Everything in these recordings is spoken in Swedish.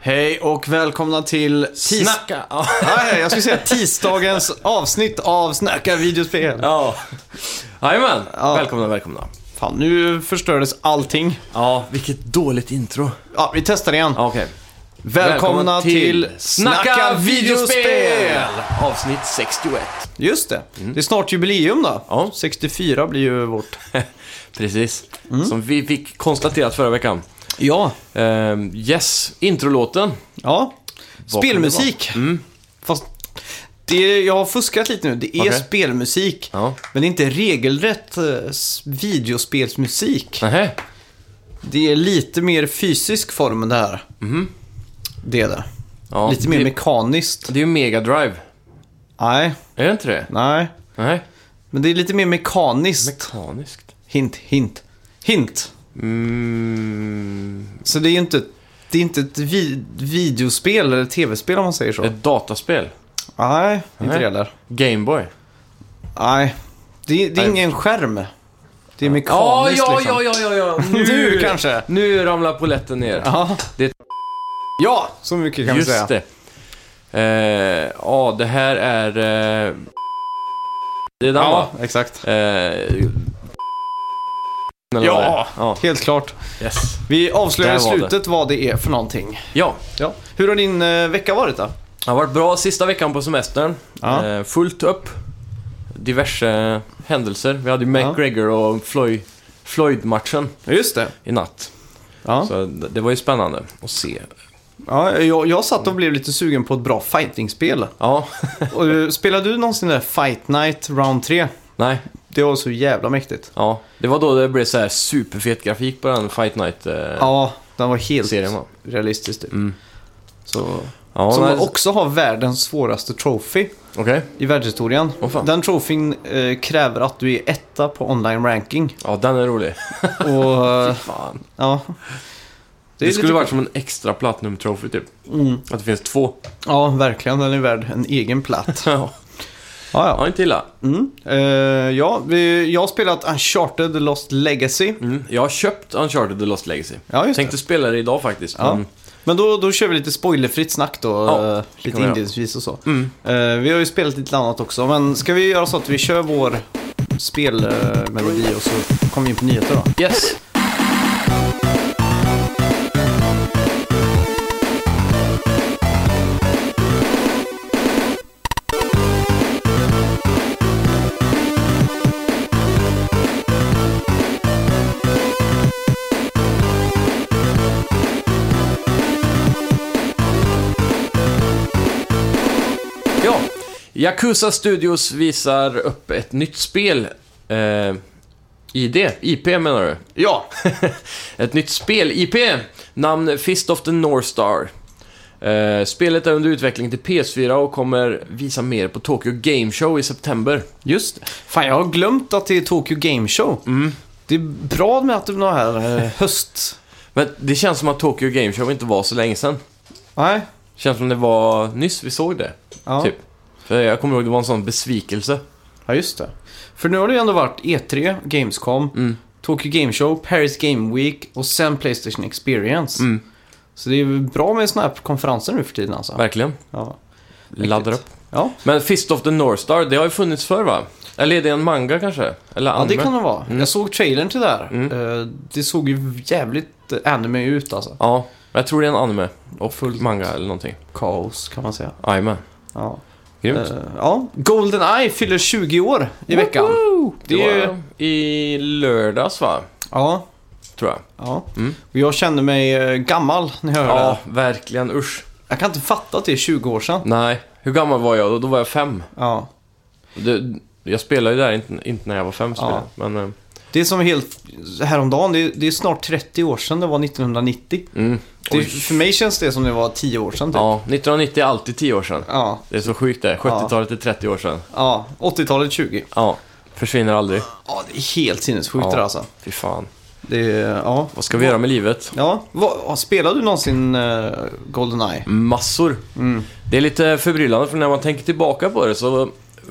Hej och välkomna till tis... Snacka! Ja. Nej, jag skulle säga tisdagens avsnitt av Snacka videospel. Ja. Jajamän. Ja. Välkomna, välkomna. Fan, nu förstördes allting. Ja, vilket dåligt intro. Ja, vi testar igen. Ja, Okej. Välkomna, till, Avsnitt 61. Just det. Det är snart jubileum då. Mm. Ja. 64 blir ju vårt. Precis. Som vi fick konstaterat förra veckan. Ja. Ehm, yes, introlåten. Ja. Vad Spelmusik. Mm. Fast det, jag har fuskat lite nu. Det är Okej. spelmusik. Ja. Men det är inte regelrätt eh, s- videospelsmusik. Nähä. Det är lite mer fysisk form än det här. Det är det. Mhm. Ja, lite mer det, mekaniskt. det är ju Mega Drive. Nej, Är det inte det? nej. Nej. Men det är lite mer mekaniskt. Mekaniskt. Hint, hint, hint. Mm, Så det är ju inte, det är inte ett vi, videospel eller tv-spel om man säger så. ett dataspel. Nej, inte Nej. det heller. Gameboy. Nej, det, det är Nej. ingen skärm. Det är Ja, mekaniskt ja, liksom. ja, ja, ja, ja. Nu kanske. Nu ramlar poletten ner. Ja. Det- ja, så mycket kan vi säga. Just det. Eh, Ja, det här är... eh, Det är den Ja, va? exakt. Eh, eller vad det är. Ja, Ja. helt klart. Yes. Vi avslöjar i Där var det. slutet vad det är för någonting. ja, Ja. Hur har din eh, vecka varit då? det har varit bra sista veckan på semestern. Ja. Eh, fullt upp. Diverse händelser. Vi hade ju Ja. McGregor och Floyd, Floyd-matchen Just det. i natt. Ja. Så det det var ju spännande att se. Ja, jag, jag satt och blev lite sugen på ett bra fightingspel. Ja, Och, eh, Spelade du någonsin det där Fight Night Round 3? nej. Det var så jävla mäktigt. Ja, det var då det blev så här superfet grafik på den Fight Night-serien. Ja, den var helt va? realistisk typ. Mm. Så, Ja, som nej, det- också har världens svåraste trophy Okej. i världshistorien. Åh, fan. den trofin eh, kräver att du är etta på online ranking. Ja, den är rolig. Och, eh, Fan. ja. Det, är skulle lite- varit som en extra Platinum Trophy typ. Mm. Att det finns två. Ja, verkligen. Den är värd en egen platt. ja, ja, ja. ja, inte illa. Mm. Eh, ja, vi, jag har spelat Uncharted The Lost Legacy. Mm. Jag har köpt Uncharted The Lost Legacy. Ja, just Tänkte spela det idag faktiskt. Ja. Men, Men då, då kör vi lite spoilerfritt snack då. Ja, eh, vi lite göra. inledningsvis och så. mm. Eh, vi har ju spelat lite annat också, men ska vi göra så att vi kör vår spelmelodi och så kommer vi in på nyheter då? Yes. Ja, Yakuza Studios visar upp ett nytt spel. Eh, ID? IP menar du? Ja! Ett nytt spel, IP, namn Fist of the North Star. Eh, spelet är under utveckling till PS4 och kommer visa mer på Tokyo Game Show i september. Just det. Fan, jag har glömt att det är Tokyo Game Show. Mm. Det är bra med att du har här eh, höst... Men det känns som att Tokyo Game Show inte var så länge sedan. Nej. Känns som det var nyss vi såg det, Ja. typ. För jag kommer ihåg det var en sån besvikelse. ja, just det. För nu har det ju ändå varit E3, Gamescom, Mm. Tokyo Game Show, Paris Game Week och sen Playstation Experience. Mm. Så det är ju bra med såna här konferenser nu för tiden alltså. Verkligen. Ja. Laddar upp. Ja. Men Fist of the North Star, det har ju funnits förr va? Eller är det en manga kanske? Eller Ja, anime? det kan det vara. Mm. Jag såg trailern till det här. Eh, Det såg ju jävligt anime ut alltså. Ja, jag tror det är en anime. Och full manga eller någonting. Kaos kan man säga. Jajamän. Ja. Grymt. Eh, ja. Goldeneye fyller 20 år i veckan. Det, Det är- var i lördags va? Ja. Tror jag. ja. Mm. Och jag kände mig eh, gammal när jag hörde Ja, det. verkligen. Usch. Jag kan inte fatta att det är 20 år sedan. Nej. Hur gammal var jag då? Då var jag fem. Ja. Det, jag spelade ju där inte, inte när jag var fem. spelade jag. Men, eh, Det är som helt häromdagen, det är, det är snart 30 år sedan det var 1990. mm. Det, Oj. för mig känns det som det var 10 år sedan typ. Ja, 1990 är alltid 10 år sedan. Ja. Det är så sjukt det. 70-talet är 30 år sedan. ja. 80-talet 20. Ja, försvinner aldrig. Ja, det är helt sinnessjukt Ja. det där, alltså. Fy fan. Det är, ja. Vad ska vi göra med livet? Ja, vad, spelar du någonsin eh, Goldeneye? Massor. Mm. Det är lite förbryllande för när man tänker tillbaka på det så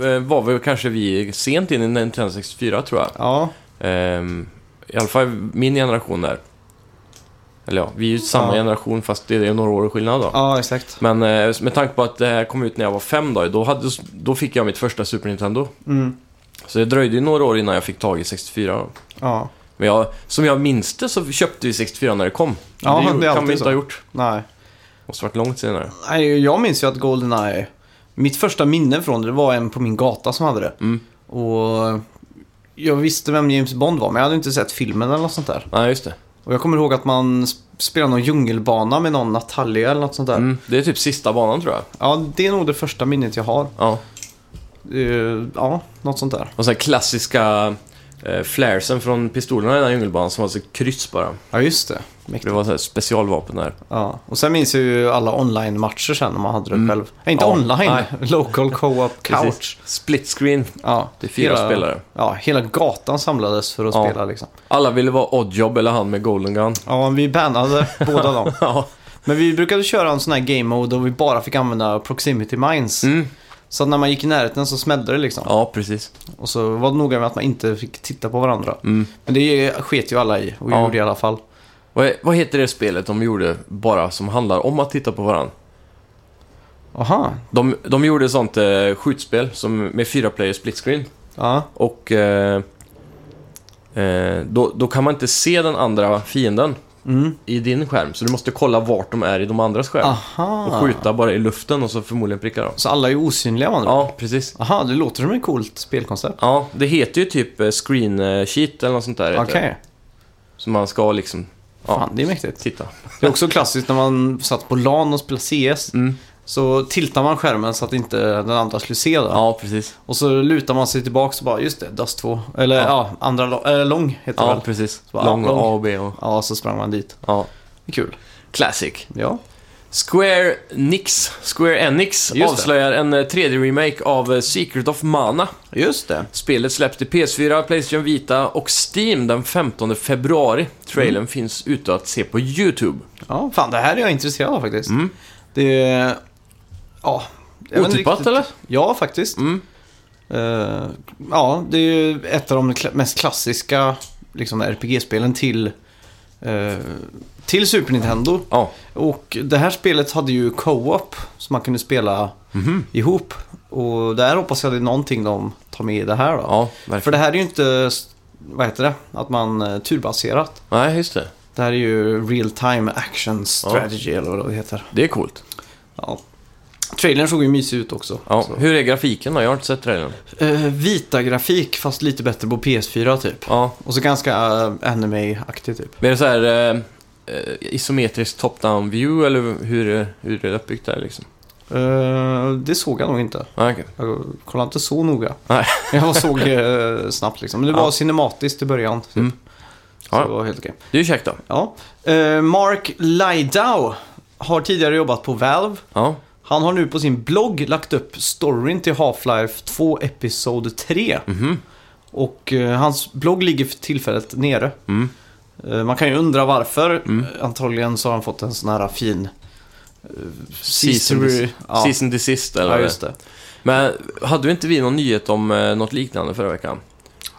eh, var vi kanske vi sent in i Nintendo 64 tror jag. Ja, Ehm, I alla fall min generation där. Eller ja, vi är ju samma Ja. generation fast det är några år skillnad då. Ja, exakt. Men eh, med tanke på att det här kom ut när jag var fem då, då, hade, då fick jag mitt första Super Nintendo. Mm. Så det dröjde ju några år innan jag fick tag i 64. Ja. Men jag, som jag minns det så köpte vi 64 när det kom. Ja, det, det är gjorde- kan alltid vi inte så. ha gjort. Nej. Måste varit långt senare. Nej, jag minns ju att Goldeneye, mitt första minne från det, det var en på min gata som hade det. Mm. Och jag visste vem James Bond var, men jag hade inte sett filmen eller något sånt där. Nej, just det. Och jag kommer ihåg att man sp- spelade någon djungelbana med någon Natalia eller något sånt där. Mm, det är typ sista banan tror jag. Ja, det är nog det första minnet jag har. Ja. Eh, ja, något sånt där. Och sen klassiska eh, flaresen från pistolerna i den här djungelbanan som var så kryss bara. Ja, just det. Det Mäktigt. var så här specialvapen där. Ja. Och sen minns jag ju alla online-matcher sen när man hade det Mm. själv. Nej, inte Ja, online. nej. Local co-op couch. Precis. Split screen. Ja, Det är fyra hela, spelare. Ja, hela gatan samlades för att Ja. spela liksom. Alla ville vara Oddjob eller han med Golden Gun. Ja, vi bannade båda dem. ja. Men vi brukade köra en sån här game mode och vi bara fick använda proximity mines. Mm. Så att när man gick i närheten så smällde det liksom. ja, precis. Och så var det noga med att man inte fick titta på varandra. Mm. Men det sket ju alla i och Ja. gjorde i alla fall. Vad, vad heter det spelet de gjorde bara som handlar om att titta på varandra? Aha, De, de gjorde sånt eh, skjutspel som, med fyra player split screen. ja. Och eh, eh, då, då kan man inte se den andra fienden Mm. i din skärm. Så du måste kolla vart de är i de andras skärm. Aha. Och skjuta bara i luften och så förmodligen pricka dem. Så alla är osynliga man. Ja, precis. Aha, det låter som ett coolt spelkoncept. Ja, det heter ju typ eh, screen eh, sheet eller något sånt där. heter Okej, det. Så man ska liksom... Ja, fan det är mäktigt. titta. Det är också klassiskt när man satt på LAN och spelade CS. Mm. Så tiltar man skärmen så att inte den andra skulle se det. Ja, precis. Och så lutar man sig tillbaka och bara, just det, Dust 2. Eller Ja. ja, andra lo- äh, lång heter det Ja, väl. precis. bara, Lång lång. och A och B och... Ja, så sprang man dit. Ja. Det är Kul. Classic. Ja. Square Nix, Square Enix Just det. avslöjar en eh, 3D-remake av eh, Secret of Mana. Just det. Spelet släpps till PS4, Playstation Vita och Steam den 15 februari. Trailern Mm. finns ute att se på YouTube. Ja, fan det här är jag intresserad av faktiskt. Mm. Det är... Ja. jag vet inte Otippat riktigt. eller? Ja, faktiskt. Mm. Eh, ja, det är ju ett av de kla- mest klassiska liksom, RPG-spelen till, eh, till Super Nintendo. Ja. Och det här spelet hade ju co-op som man kunde spela Mhm. ihop. Och där hoppas jag det är någonting de tar med i det här då. Ja, För verkligen. det här är ju inte, vad heter det, att man eh, turbaserat. Nej, just det. Det här är ju real time action strategy eller vad det heter. Det är coolt. Ja. Trailern såg ju mysig ut också. Ja. Så. Hur är grafiken då? Jag har inte sett trailern. Eh, vita grafik fast lite bättre på PS4 typ. Ja. Och så ganska eh, anime-aktig typ. Men är det så här eh, eh, isometrisk top-down view eller hur, är- hur är det uppbyggt där liksom? Eh, det såg jag nog inte. Ah, okej. Jag kollade inte så noga. Nej. Jag såg eh, snabbt liksom. Men det Ja. var cinematiskt i början. Typ. Mm. Så Ja. det var helt okej. Det är ju käckt då. Ja. Eh, Mark Lydau har tidigare jobbat på Valve. Ja. Han har nu på sin blogg lagt upp storyn till Half-Life 2 Episod 3. Mhm. Och eh, hans blogg ligger för tillfället nere. Mm. Eh, man kan ju undra varför. Eh, Antagligen så har han fått en sån här fin... Season, Season- ja. season desist eller Ja, vad det är. just det. Men hade vi inte vi någon nyhet om eh, något liknande förra veckan?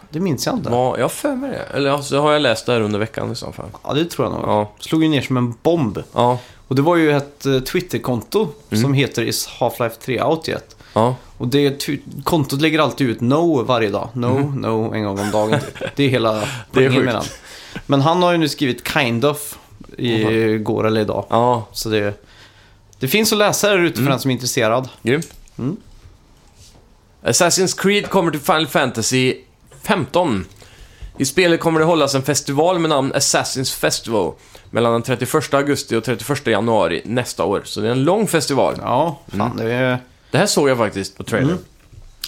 Det minns jag inte. Var, jag har för mig det. Eller alltså, har jag läst det här under veckan i så fall. Ja, det tror jag nog. Ja. Slog ju ner som en bomb. Ja. Och det var ju ett eh, Twitterkonto Mm. som heter Is Half-Life 3 Out Yet? Ja. Och det tu- kontot lägger alltid ut no varje dag. No, no, en gång om dagen. typ. Det är hela Det är poängen med den. sjukt. Men han har ju nu skrivit kind of i går eller idag. Ja. Så det, det finns att läsa där ute för den som är intresserad. Grymt. Mm. Assassin's Creed kommer till Final Fantasy 15. I spelet kommer det hållas en festival med namn Assassin's Festival mellan den 31 augusti och 31 januari nästa år. Så det är en lång festival. Ja, fan det är... Det här såg jag faktiskt på trailern. Mm.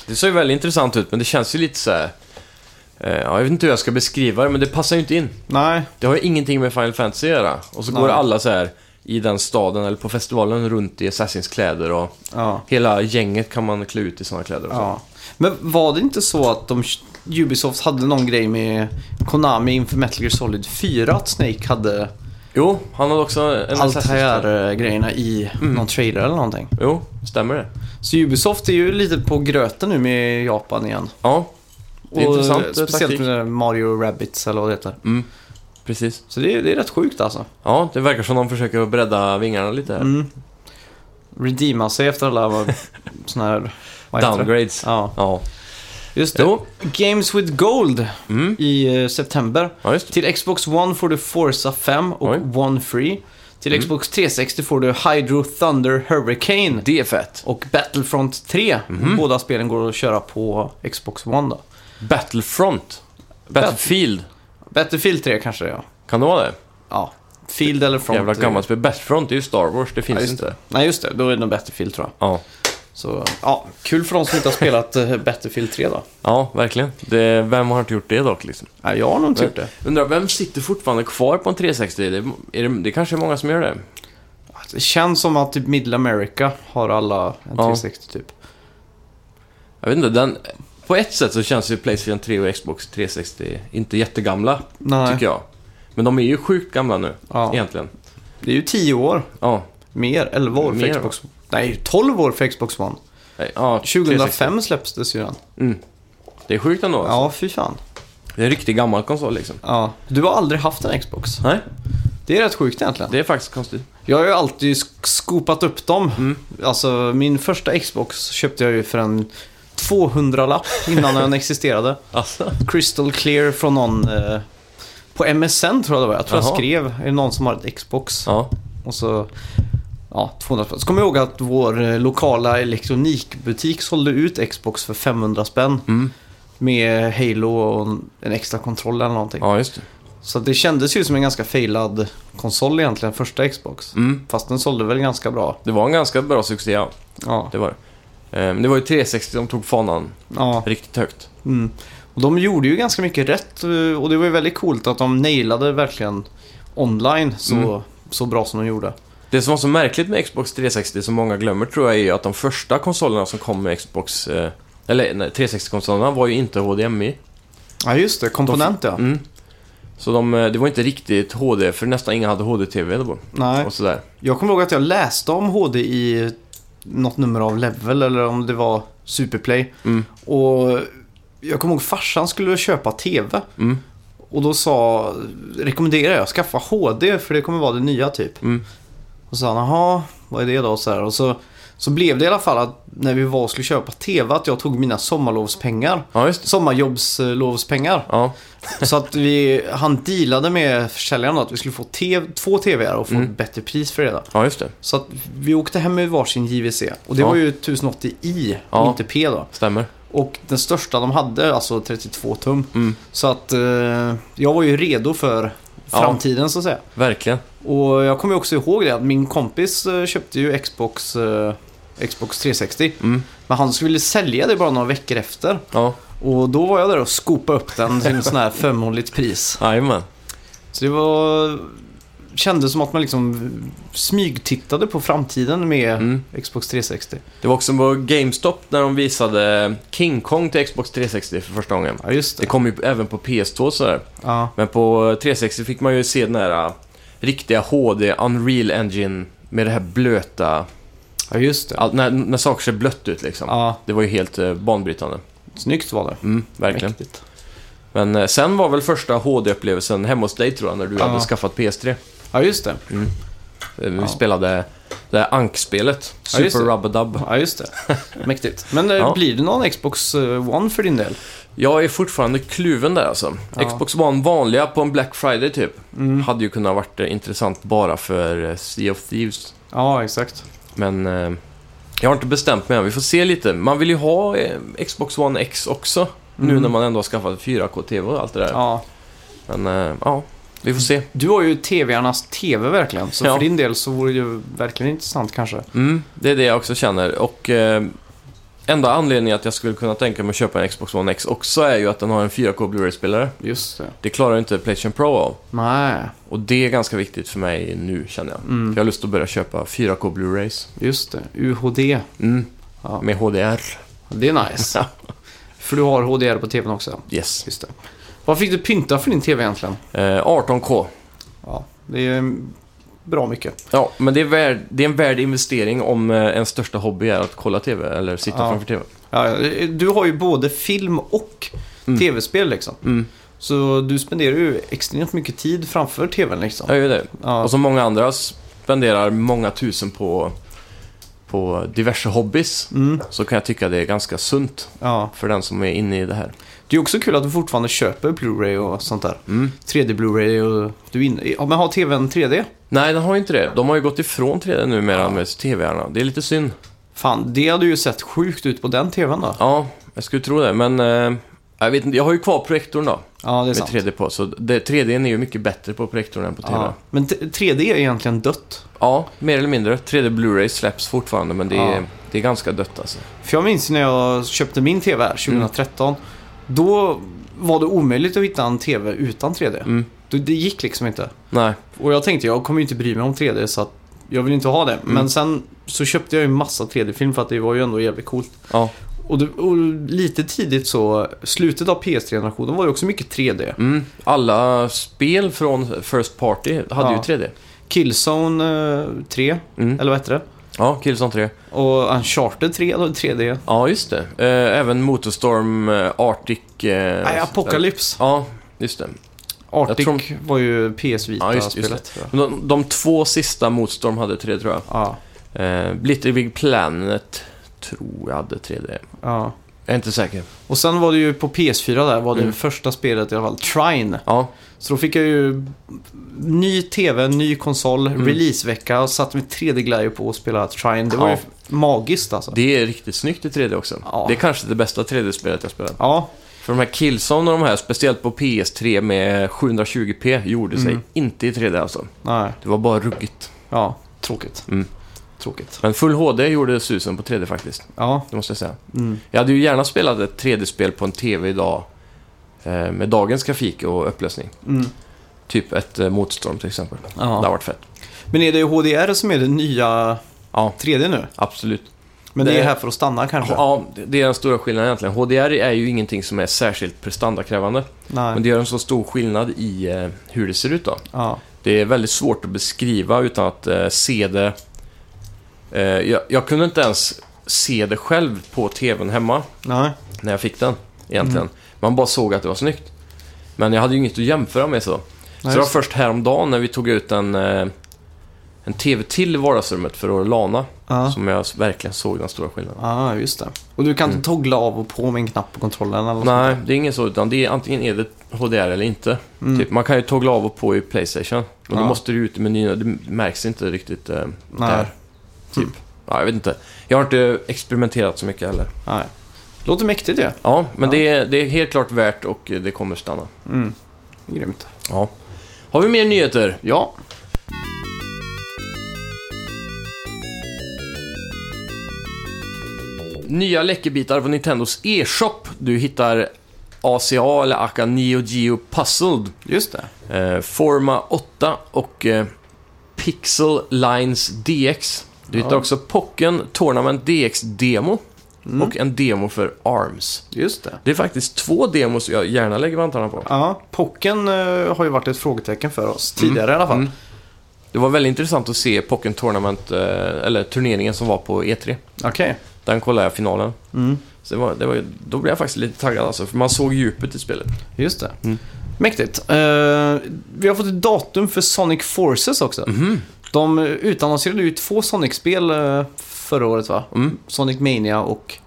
Det såg ju väldigt intressant ut, men det känns ju lite så här... Eh, ja, jag vet inte hur jag ska beskriva det, men det passar ju inte in. Nej, Det har ju ingenting med Final Fantasy att göra. Och så går Nej. alla så här i den staden eller på festivalen runt i Assassins kläder och ja. hela gänget kan man klä ut i sådana kläder och så. ja. Men var det inte så att de, Ubisoft hade någon grej med Konami inför Metal Gear Solid 4? Att Snake hade Jo, han hade också en allt Assassin's här kläder. eh, grejerna i någon trailer eller någonting. Jo, stämmer det. Så Ubisoft är ju lite på gröten nu med Japan igen. Ja, det är Och intressant eh, Speciellt taktik. med Mario Rabbits eller vad det heter. Mm. Precis. Så det, är- det är rätt sjukt alltså. Ja, det verkar som de försöker bredda vingarna lite här. Mm. Redeema sig efter alla sådana här... vad heter det? Downgrades. Ja, Ja. just det. Jo. Games with Gold Mm. i eh, september. Ja, just det. Till Xbox One får du Forza 5 och Oj. Mm. One Free. Till Xbox 360 får du Hydro Thunder Hurricane Det är fett. och Battlefront 3. Mhm. Båda spelen går att köra på Xbox One då. Battlefront. Battlefield. Battlefield 3 kanske det är, ja. Kan det vara det? Ja. Field eller Front. eh, Jävla gammalt spel. Battlefront är ju Star Wars, Ja, det finns just inte. det. Nej, just det. Då är det nog Battlefield tror jag. Ja. Så, ja. Kul för de som inte har spelat eh, Battlefield 3 då. ja, verkligen. Det, vem har inte gjort det dock liksom? Ja, jag har nog inte gjort det. Undrar, vem sitter fortfarande kvar på en 360? Det, är det, det kanske är många som gör det. Det känns som att typ Middle America har alla en Ja. 360 typ. Jag vet inte, den, på ett sätt så känns ju Playstation 3 och Xbox 360 inte jättegamla, Nej. tycker jag. Men de är ju sjukt gamla nu, Ja. egentligen. Det är ju 10 år. Ja, Mer. 11 år för Mer, va? Xbox Nej, 12 år för Xbox One. nej, ja 360. 2005 släpptes ju den. Mm. Det är sjukt ändå. alltså. Ja, fy fan. Det är en riktigt gammal konsol liksom. Ja. Du har aldrig haft en Xbox. Nej, Det är rätt sjukt egentligen. det är faktiskt konstigt. Jag har ju alltid sk- skopat upp dem. Alltså, min första Xbox köpte jag ju för en 200-lapp innan den existerade. Alltså. Crystal Clear från någon eh, på MSN tror jag det var. Jag tror Jaha. jag skrev, är det någon som har ett Xbox? Ja, Och så, ja, 200 spänn. Så kommer jag ihåg att vår eh, lokala elektronikbutik sålde ut Xbox för 500 spänn. mm. Med Halo och en- en extra kontroll eller någonting. ja just det. Så det kändes ju som en ganska failad konsol egentligen, första Xbox. Mm. Fast den sålde väl ganska bra. Det var en ganska bra succé, ja. Ja. Det var det. Eh, Men det var ju 360 som tog fanan ja. riktigt högt. Mm. Och de gjorde ju ganska mycket rätt eh, och det var ju väldigt coolt att de nailade verkligen online så, Mm. så bra som de gjorde. Det som var så märkligt med Xbox 360 som många glömmer tror jag är ju att de första konsolerna som kom med Xbox eh, eller nej, 360-konsolerna var ju inte HDMI. Ja, just det. Komponent ja. Mm. Så de, eh, det var inte riktigt HD, för nästan inga hade HD-TV då. Nej. Och sådär. Jag kommer ihåg att jag läste om HD i något nummer av Level eller om det var Superplay. Mm. Och jag kommer ihåg farsan skulle köpa TV. Mm. Och då sa, rekommenderade jag, skaffa HD för det kommer vara det nya typ. Mm. Och så sa han, jaha, vad är det då? Så här, och så, så blev det i alla fall att när vi var och skulle köpa TV att jag tog mina sommarlovspengar. Ja, just det. Sommarjobbslovspengar. Ja, Så att vi, han dealade med försäljaren då att vi skulle få TV, två TVR och få Mm. ett bättre pris för det. Då. ja, just det. Så att vi åkte hem med varsin JVC. Och det Ja. var ju 1080i, Ja. och inte P då. Stämmer. Och den största de hade, alltså 32 tum. Mm. Så att eh, jag var ju redo för Ja. framtiden så att säga. Verkligen. Och jag kommer ju också ihåg det att min kompis eh, köpte ju Xbox, eh, Xbox 360. Mm. Men han skulle sälja det bara några veckor efter. Ja, Och då var jag där och skopade upp den till en sån här förmånligt pris. jajamän. Så det var... Kändes som att man liksom smygtittade på framtiden med Mm. Xbox 360. Det var också på GameStop när de visade King Kong till Xbox 360 för första gången. Ja, just Det det. kom ju även på PS2 och sådär. Ja. Men på 360 fick man ju se den här äh, riktiga HD Unreal Engine med det här blöta, ja, just det. all, när, när saker ser blött ut liksom. Ja, Det var ju helt eh, banbrytande. snyggt var det. Mm, verkligen. Mäktigt. Men eh, sen var väl första HD-upplevelsen hemma hos dig tror jag, när du Ja. hade skaffat PS3. Eh, Ja, just det. Äh, Vi Ja. spelade det här Ank-spelet, Ja, just Super det. Rubber Dub. Ja, just det. Mäktigt. Men eh, Ja. blir det någon Xbox eh, One för din del? Jag är fortfarande kluven där alltså. Ja. Xbox One vanliga på en Black Friday typ. Mm. Hade ju kunnat varit eh, intressant bara för eh, Sea of Thieves. Ja, exakt. Men eh, jag har inte bestämt mig än. Vi får se lite. Man vill ju ha eh, Xbox One X också. Nu Mm. när man ändå har skaffat 4K-TV och allt det där. Ja. Men eh, ja, vi får se. Du har ju TV-arnas TV verkligen, så Ja. för din del så vore det ju verkligen intressant kanske. Mm, det är det jag också känner. Och eh, enda anledningen att jag skulle kunna tänka mig att köpa en Xbox One X också är ju att den har en 4K Blu-ray-spelare. Just det. Det klarar ju inte Playstation Pro av. Nej, Och det är ganska viktigt för mig nu känner jag. För mm. jag har lust att börja köpa 4K Blu-rays. just det. UHD. Mm. Ja. Med HDR. Det är nice. för du har HDR på TVn också. Yes. Just det. Vad fick du pynta för din TV egentligen? Eh, 18K. Ja, det är eh, bra mycket. Ja, men det är, värd, det är en värd investering om eh, ens största hobby är att kolla TV eller sitta Ja. framför TV. Ja, eh, du har ju både film och Mm. TV-spel liksom. Mm. Så du spenderar ju extremt mycket tid framför tvn liksom. Jag gör det. Ja. Och som många andra spenderar många tusen på, på diverse hobbys. Mm, Så kan jag tycka det är ganska sunt ja. för den som är inne i det här. Det är också kul att du fortfarande köper Blu-ray och sånt där. Mm. 3D Blu-ray och du in... ja, men har tvn 3D? Nej, den har ju inte det. De har ju gått ifrån 3D numera med TV-arna. Det är lite synd. Fan, det hade ju sett sjukt ut på den tvn då. Ja, jag skulle tro det, men... Eh, jag vet inte, jag har ju kvar projektorn då. Ja, det är Med sant. 3D på, så det, 3D n är ju mycket bättre på projektorn än på TV. Ja. Ja, Men t- 3D är egentligen dött. mer eller mindre. 3D Blu-ray släpps fortfarande, men det är, Ja. det är ganska dött alltså. För jag minns ju när jag köpte min tv här 2013. Då var det omöjligt att hitta en tv utan 3D. Mm. Det, det gick liksom inte. Nej, Och jag tänkte, jag kommer ju inte bry mig om 3D så att jag vill inte ha det. Men sen så köpte jag ju en massa 3D-film för att det var ju ändå jävligt coolt. ja. Och, det, och lite tidigt så, slutet av PS3-generationen var ju också mycket 3D. Mm. Alla spel från First Party hade Ja. ju 3D. Killzone eh, 3, Mm. eller vad hette det? Ja, Killzone 3. Och Uncharted 3, då, 3D. Ja, just det. Eh, även Motorstorm, eh, Arctic... Eh, Nej, Apocalypse. Ja, just det. Arctic Jag var ju PS Ja, just- Vita-spelet. just det. tror jag. De, de två sista Motorstorm hade 3D, tror jag. ja, Eh, Little Big Planet tror jag hade 3D. ja. Jag är inte säker. Och sen var det ju på PS4 där, var det Mm. första spelet i alla fall, Trine. Ja, Så då fick jag ju ny TV, ny konsol, Mm. releasevecka och satt med 3D-glajjor på och spelade Trine. Det var Ja. ju magiskt alltså. det är riktigt snyggt i 3D också. Ja. Det är kanske det bästa 3D-spelet jag spelat. Ja, För de här Killzone och de här, speciellt på PS3 med 720p, gjorde sig Mm. inte i 3D alltså. nej, Det var bara ruggigt. ja, tråkigt. Mm. Tråkigt. Men full HD gjorde susen på 3D faktiskt, Ja, det måste jag säga. mm. Jag hade ju gärna spelat ett 3D-spel på en TV idag eh, med dagens grafik och upplösning. Mm. Typ ett eh, Motorstorm till exempel. Ja. Det hade varit fett. Men är det HDR som är det nya Ja, 3D nu? absolut. Men det, Det- är här för att stanna kanske? Ja, det är den stora skillnaden egentligen. HDR är ju ingenting som är särskilt prestandakrävande. Men Nej. det gör en så stor skillnad i eh, hur det ser ut då. Ja. Det är väldigt svårt att beskriva utan att eh, se det. Eh, jag, jag kunde inte ens se det själv på tvn hemma Nej. när jag fick den egentligen. Mm. Man bara såg att det var snyggt. Men jag hade ju inget att jämföra med så. Så Nej, det var just- först häromdagen när vi tog ut en, eh, en tv till i vardagsrummet för att lana. Ja. Som jag verkligen såg den stora skillnaden. ja, just det. Och du kan inte toggla av och på med en knapp på kontrollen eller något Mm. Nej, det är inget så, utan det är antingen är det HDR eller inte. Mm. Typ, man kan ju toggla av och på i Playstation. Och då Ja. måste du ut i menyn och det märks inte riktigt eh, Nej. Mm. där. Typ. Ja, jag vet inte. Jag har inte experimenterat så mycket heller. Nej. Låter mäktigt ju. Ja, men Ja. Det, är, det är helt klart värt och eh, det kommer stanna. Mm. Grymt. Ja. Har vi mer nyheter? Ja. Nya läckerbitar på Nintendos e-shop. Du hittar ACA eller AKA Neo Geo Puzzled. Just det. Eh, Forma 8 och eh, Pixel Lines DX. Du hittar Ja. också Pocken Tournament DX Demo Mm. och en demo för ARMS. Just det. Det är faktiskt två demos jag gärna lägger vantarna på. Ja, Pocken eh, har ju varit ett frågetecken för oss tidigare i alla fall. Mm. Det var väldigt intressant att se Pocken Tournament, eh, eller turneringen som var på E3. Okej. Den kollade jag finalen. Mm. Så det var, det var, då blev jag faktiskt lite taggad alltså, för man såg djupet i spelet. Just det. Mm. Mäktigt. Eh, vi har fått ett datum för Sonic Forces också. Mhm. De utannonserade ju två Sonic-spel eh, förra året va? Mm. Sonic Mania och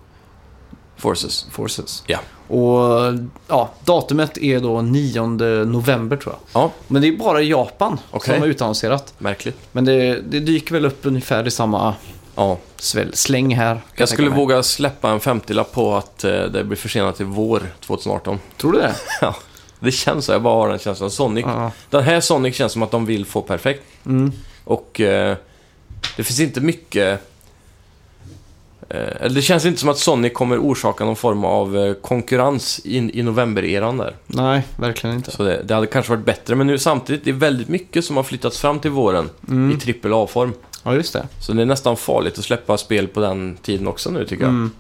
Forces. Forces. Ja. Och ja, datumet är då 9 november tror jag. Ja, Men det är bara Japan Okej. som har utannonserat. märkligt. Men det, det dyker väl upp ungefär i samma Ja. sväl, släng här. kan Jag tänka skulle mig. våga släppa en 50 på att eh, det blir försenat till vår 2018. Tror du det? Ja, det känns så. Jag bara har den känslan. Sonic. Ja. Den här Sonic känns som att de vill få perfekt. Mm. Och eh, det finns inte mycket... Eh, eller det känns inte som att Sonic kommer orsaka någon form av eh, konkurrens in, i novembereran där. Nej, verkligen inte. Så det, det hade kanske varit bättre. Men nu samtidigt, det är väldigt mycket som har flyttats fram till våren Mm. i trippel A-form. Ja, just det. Så det är nästan farligt att släppa spel på den tiden också nu tycker jag. Mm.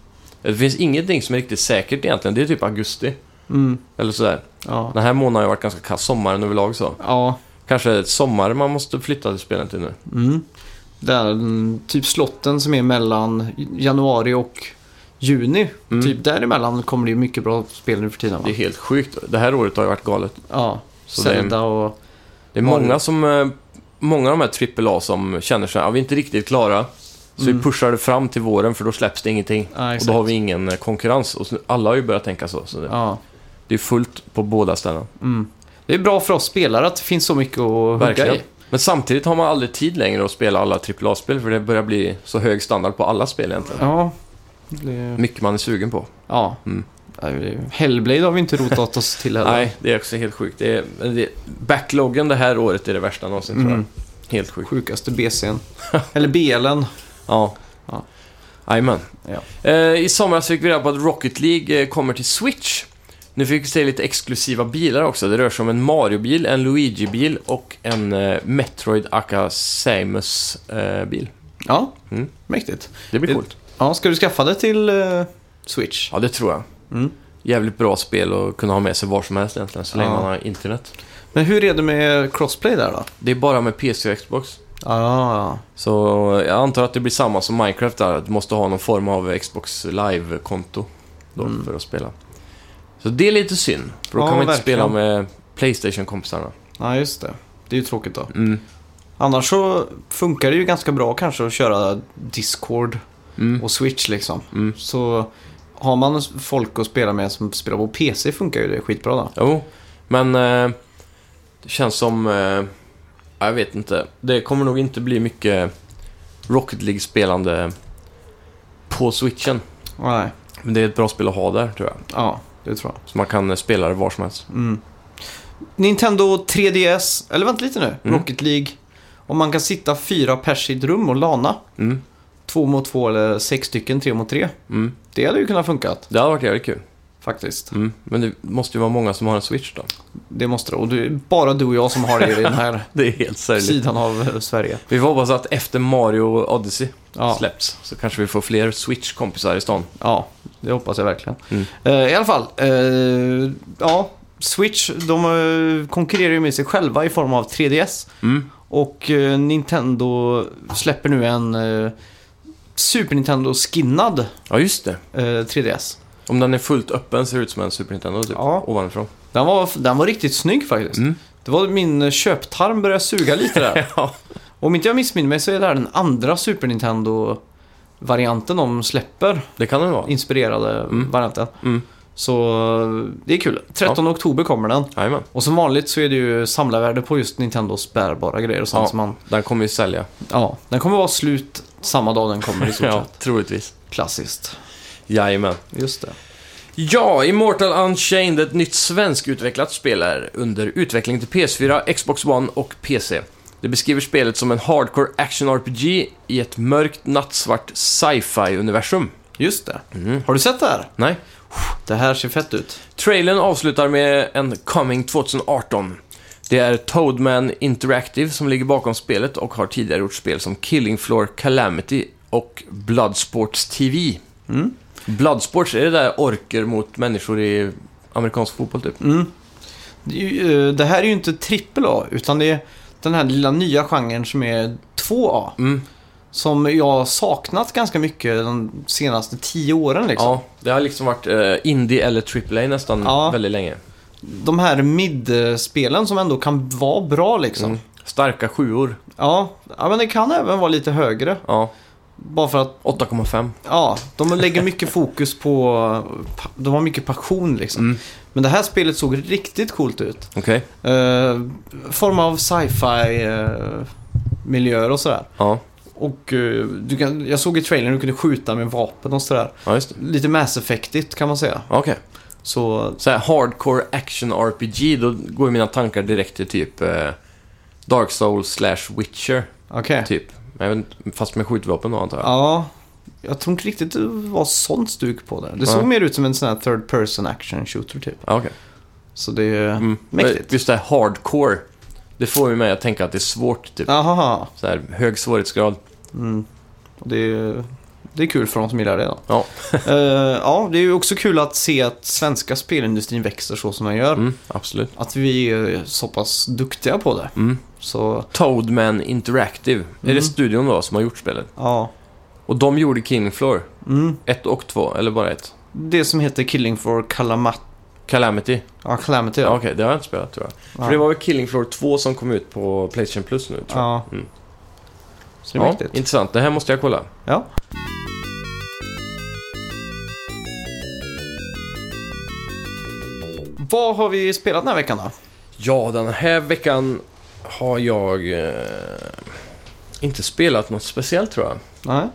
Det finns ingenting som är riktigt säkert egentligen. Det är typ augusti. Mm. Eller sådär. Ja. Den här månaden har ju varit ganska kass. Sommaren överlag så. ja. Kanske ett sommar man måste flytta till spelen till nu. Mm. Den, typ slotten som är mellan januari och juni. Typ däremellan kommer det ju mycket bra spel nu för tiden. Det Va? är helt sjukt. Det här året har ju varit galet. Ja, Så Zelda och... Det är många som... eh, Många av de här AAA som känner sig, ja, vi är inte riktigt klara. Så vi pushar det fram till våren för då släpps det ingenting. Ja, och exakt. då har vi ingen eh, konkurrens. Och så- alla har ju börjat tänka så. så det, Ja. det är fullt på båda ställen. Mm. Det är bra för oss spelare att det finns så mycket att hugga Verkligen. i. Men samtidigt har man aldrig tid längre att spela alla AAA-spel för det börjar bli så hög standard på alla spel egentligen. Ja. Det... Mycket man är sugen på. Ja. Mm. Ja, det- Hellblade har vi inte rotat oss till heller. Nej, det är också helt sjukt. Det är, men det, backloggen det här året är det värsta någonsin tror Mm. jag. Helt sjukt. Sjukaste BC'n. Eller BL'n. Ja. Ja. Jajamän. Ja. Eh, I somras fick vi reda på att Rocket League eh, kommer till Switch. Nu fick vi se lite exklusiva bilar också. Det rör sig om en Mario-bil, en Luigi-bil och en eh, Metroid Aka Samus-bil. Ja, Mm. mäktigt. det blir Det- coolt. Ja, ska du skaffa det till eh, Switch? Ja, det tror jag. Mm. Jävligt bra spel att kunna ha med sig var som helst egentligen, så länge Ja. man har internet. Men hur är det med crossplay där då? Det är bara med PC och Xbox. Ah, Så jag antar att det blir samma som Minecraft där, att du måste ha någon form av Xbox Live-konto då Mm. för att spela. Så det är lite synd, för då Ja, kan man inte verkligen. spela med Playstation-kompisarna. ja, just det. Det är ju tråkigt då. Mm. Annars så funkar det ju ganska bra kanske att köra Discord Mm. och Switch liksom. Mm. Så har man folk att spela med som spelar på PC funkar ju det skitbra då. Jo, men eh, det känns som... Eh, jag vet inte. Det kommer nog inte bli mycket Rocket League-spelande på switchen. Nej, Men det är ett bra spel att ha där, tror jag. ja, det tror jag. Så man kan eh, spela det var som helst. Mm. Nintendo 3DS, eller vänta lite nu, Mm. Rocket League. Om man kan sitta fyra pers i ett rum och lana, Mm. två mot två eller sex stycken, tre mot tre. Mm. Det hade ju kunnat funkat Det hade varit jävligt kul. faktiskt. Mm. Men det måste ju vara många som har en switch då. Det måste det. Och det är bara du och jag som har det i den här Det är helt särskilt. sidan av eh, Sverige. Vi får hoppas att efter Mario Odyssey Ja. släpps så kanske vi får fler Switch-kompisar i stan. Ja, det hoppas jag verkligen. Mm. Eh, I alla fall, eh, ja, Switch de eh, konkurrerar ju med sig själva i form av 3DS. Mm. Och eh, Nintendo släpper nu en eh, Super Nintendo-skinnad Ja, just det. eh, 3DS. Om den är fullt öppen ser det ut som en Super Nintendo typ, Ja. ovanifrån. Den var, den var riktigt snygg faktiskt. Mm. Det var min eh, köptarm började suga lite där. Ja. Om inte jag missminner mig så är det här den andra Super Nintendo-varianten de släpper. Det kan den vara. Inspirerade Mm. varianten. Mm. Så eh, det är kul. 13 oktober kommer den. Jajamän. Och som vanligt så är det ju samlarvärde på just Nintendos bärbara grejer och sånt Ja. som man... Den kommer ju sälja. Ja, den kommer vara slut samma dag den kommer i stort Ja, sett. troligtvis. Klassiskt. Jajamän. Just det. Ja, Immortal Unchained, ett nytt svenskutvecklat spel, är under utveckling till PS4, Xbox One och PC. Det beskriver spelet som en hardcore action-RPG i ett mörkt, nattsvart sci-fi-universum. Just det. Mm. Har du sett det här? Nej. Det här ser fett ut. Trailern avslutar med en Coming 2018. Det är Toadman Interactive som ligger bakom spelet och har tidigare gjort spel som Killing Floor Calamity och Bloodsports TV. Mm. Bloodsports, är det där orker mot människor i amerikansk fotboll typ? Mm. Det, är ju, eh, det här är ju inte trippel A, utan det är den här lilla nya genren som är 2A. Mm. Som jag har saknat ganska mycket de senaste tio åren liksom. Ja, det har liksom varit eh, indie eller AAA nästan Ja. väldigt länge. De här mid-spelen som ändå kan vara bra liksom. Mm. Starka sjuor. Ja. ja, men det kan även vara lite högre. Ja, Bara för att 8,5. Ja, de lägger mycket fokus på... De har mycket passion liksom. Mm. Men det här spelet såg riktigt coolt ut. Okej. Eh, form av sci-fi eh, miljöer och sådär. Ja. Och eh, du kan, jag såg i trailern att du kunde skjuta med vapen och sådär. ja, just det. Lite Mass Effectigt kan man säga. Okej. Så Så här hardcore action RPG, då går ju mina tankar direkt till typ eh, Dark Souls slash Witcher, okej. typ. Men jag vet inte, Fast med skjutvapen då antar jag. Ja, jag tror inte riktigt det var sånt stuk på det. Det såg Nej. mer ut som en sån här third person action shooter typ. Ja, Ah, okej. Så det är Mm. mäktigt. Just det här hardcore, det får ju mig att tänka att det är svårt, typ. Aha, Så här hög svårighetsgrad. Mm. Och Det, är, det är kul för de som gillar det. Då. Ja. Eh, ja, det är ju också kul att se att svenska spelindustrin växer så som den gör. Mm, absolut. Att vi är så pass duktiga på det. Mm. Så, Toadman Interactive, är Mm. det studion då som har gjort spelet? ja. Och de gjorde Killing Floor. Mm. Ett och två, eller bara ett. Det som heter Killing for Kalamat... Calamity. Ja, Calamity Ja. ja. Okej, det har jag inte spelat tror jag. Ja. För det var väl Killing Floor 2 som kom ut på Playstation Plus nu tror jag. Ja. Mm. Så det är mäktigt. intressant. Det här måste jag kolla. Ja. Vad har vi spelat den här veckan då? Ja, den här veckan har jag eh, inte spelat något speciellt tror jag. Nej,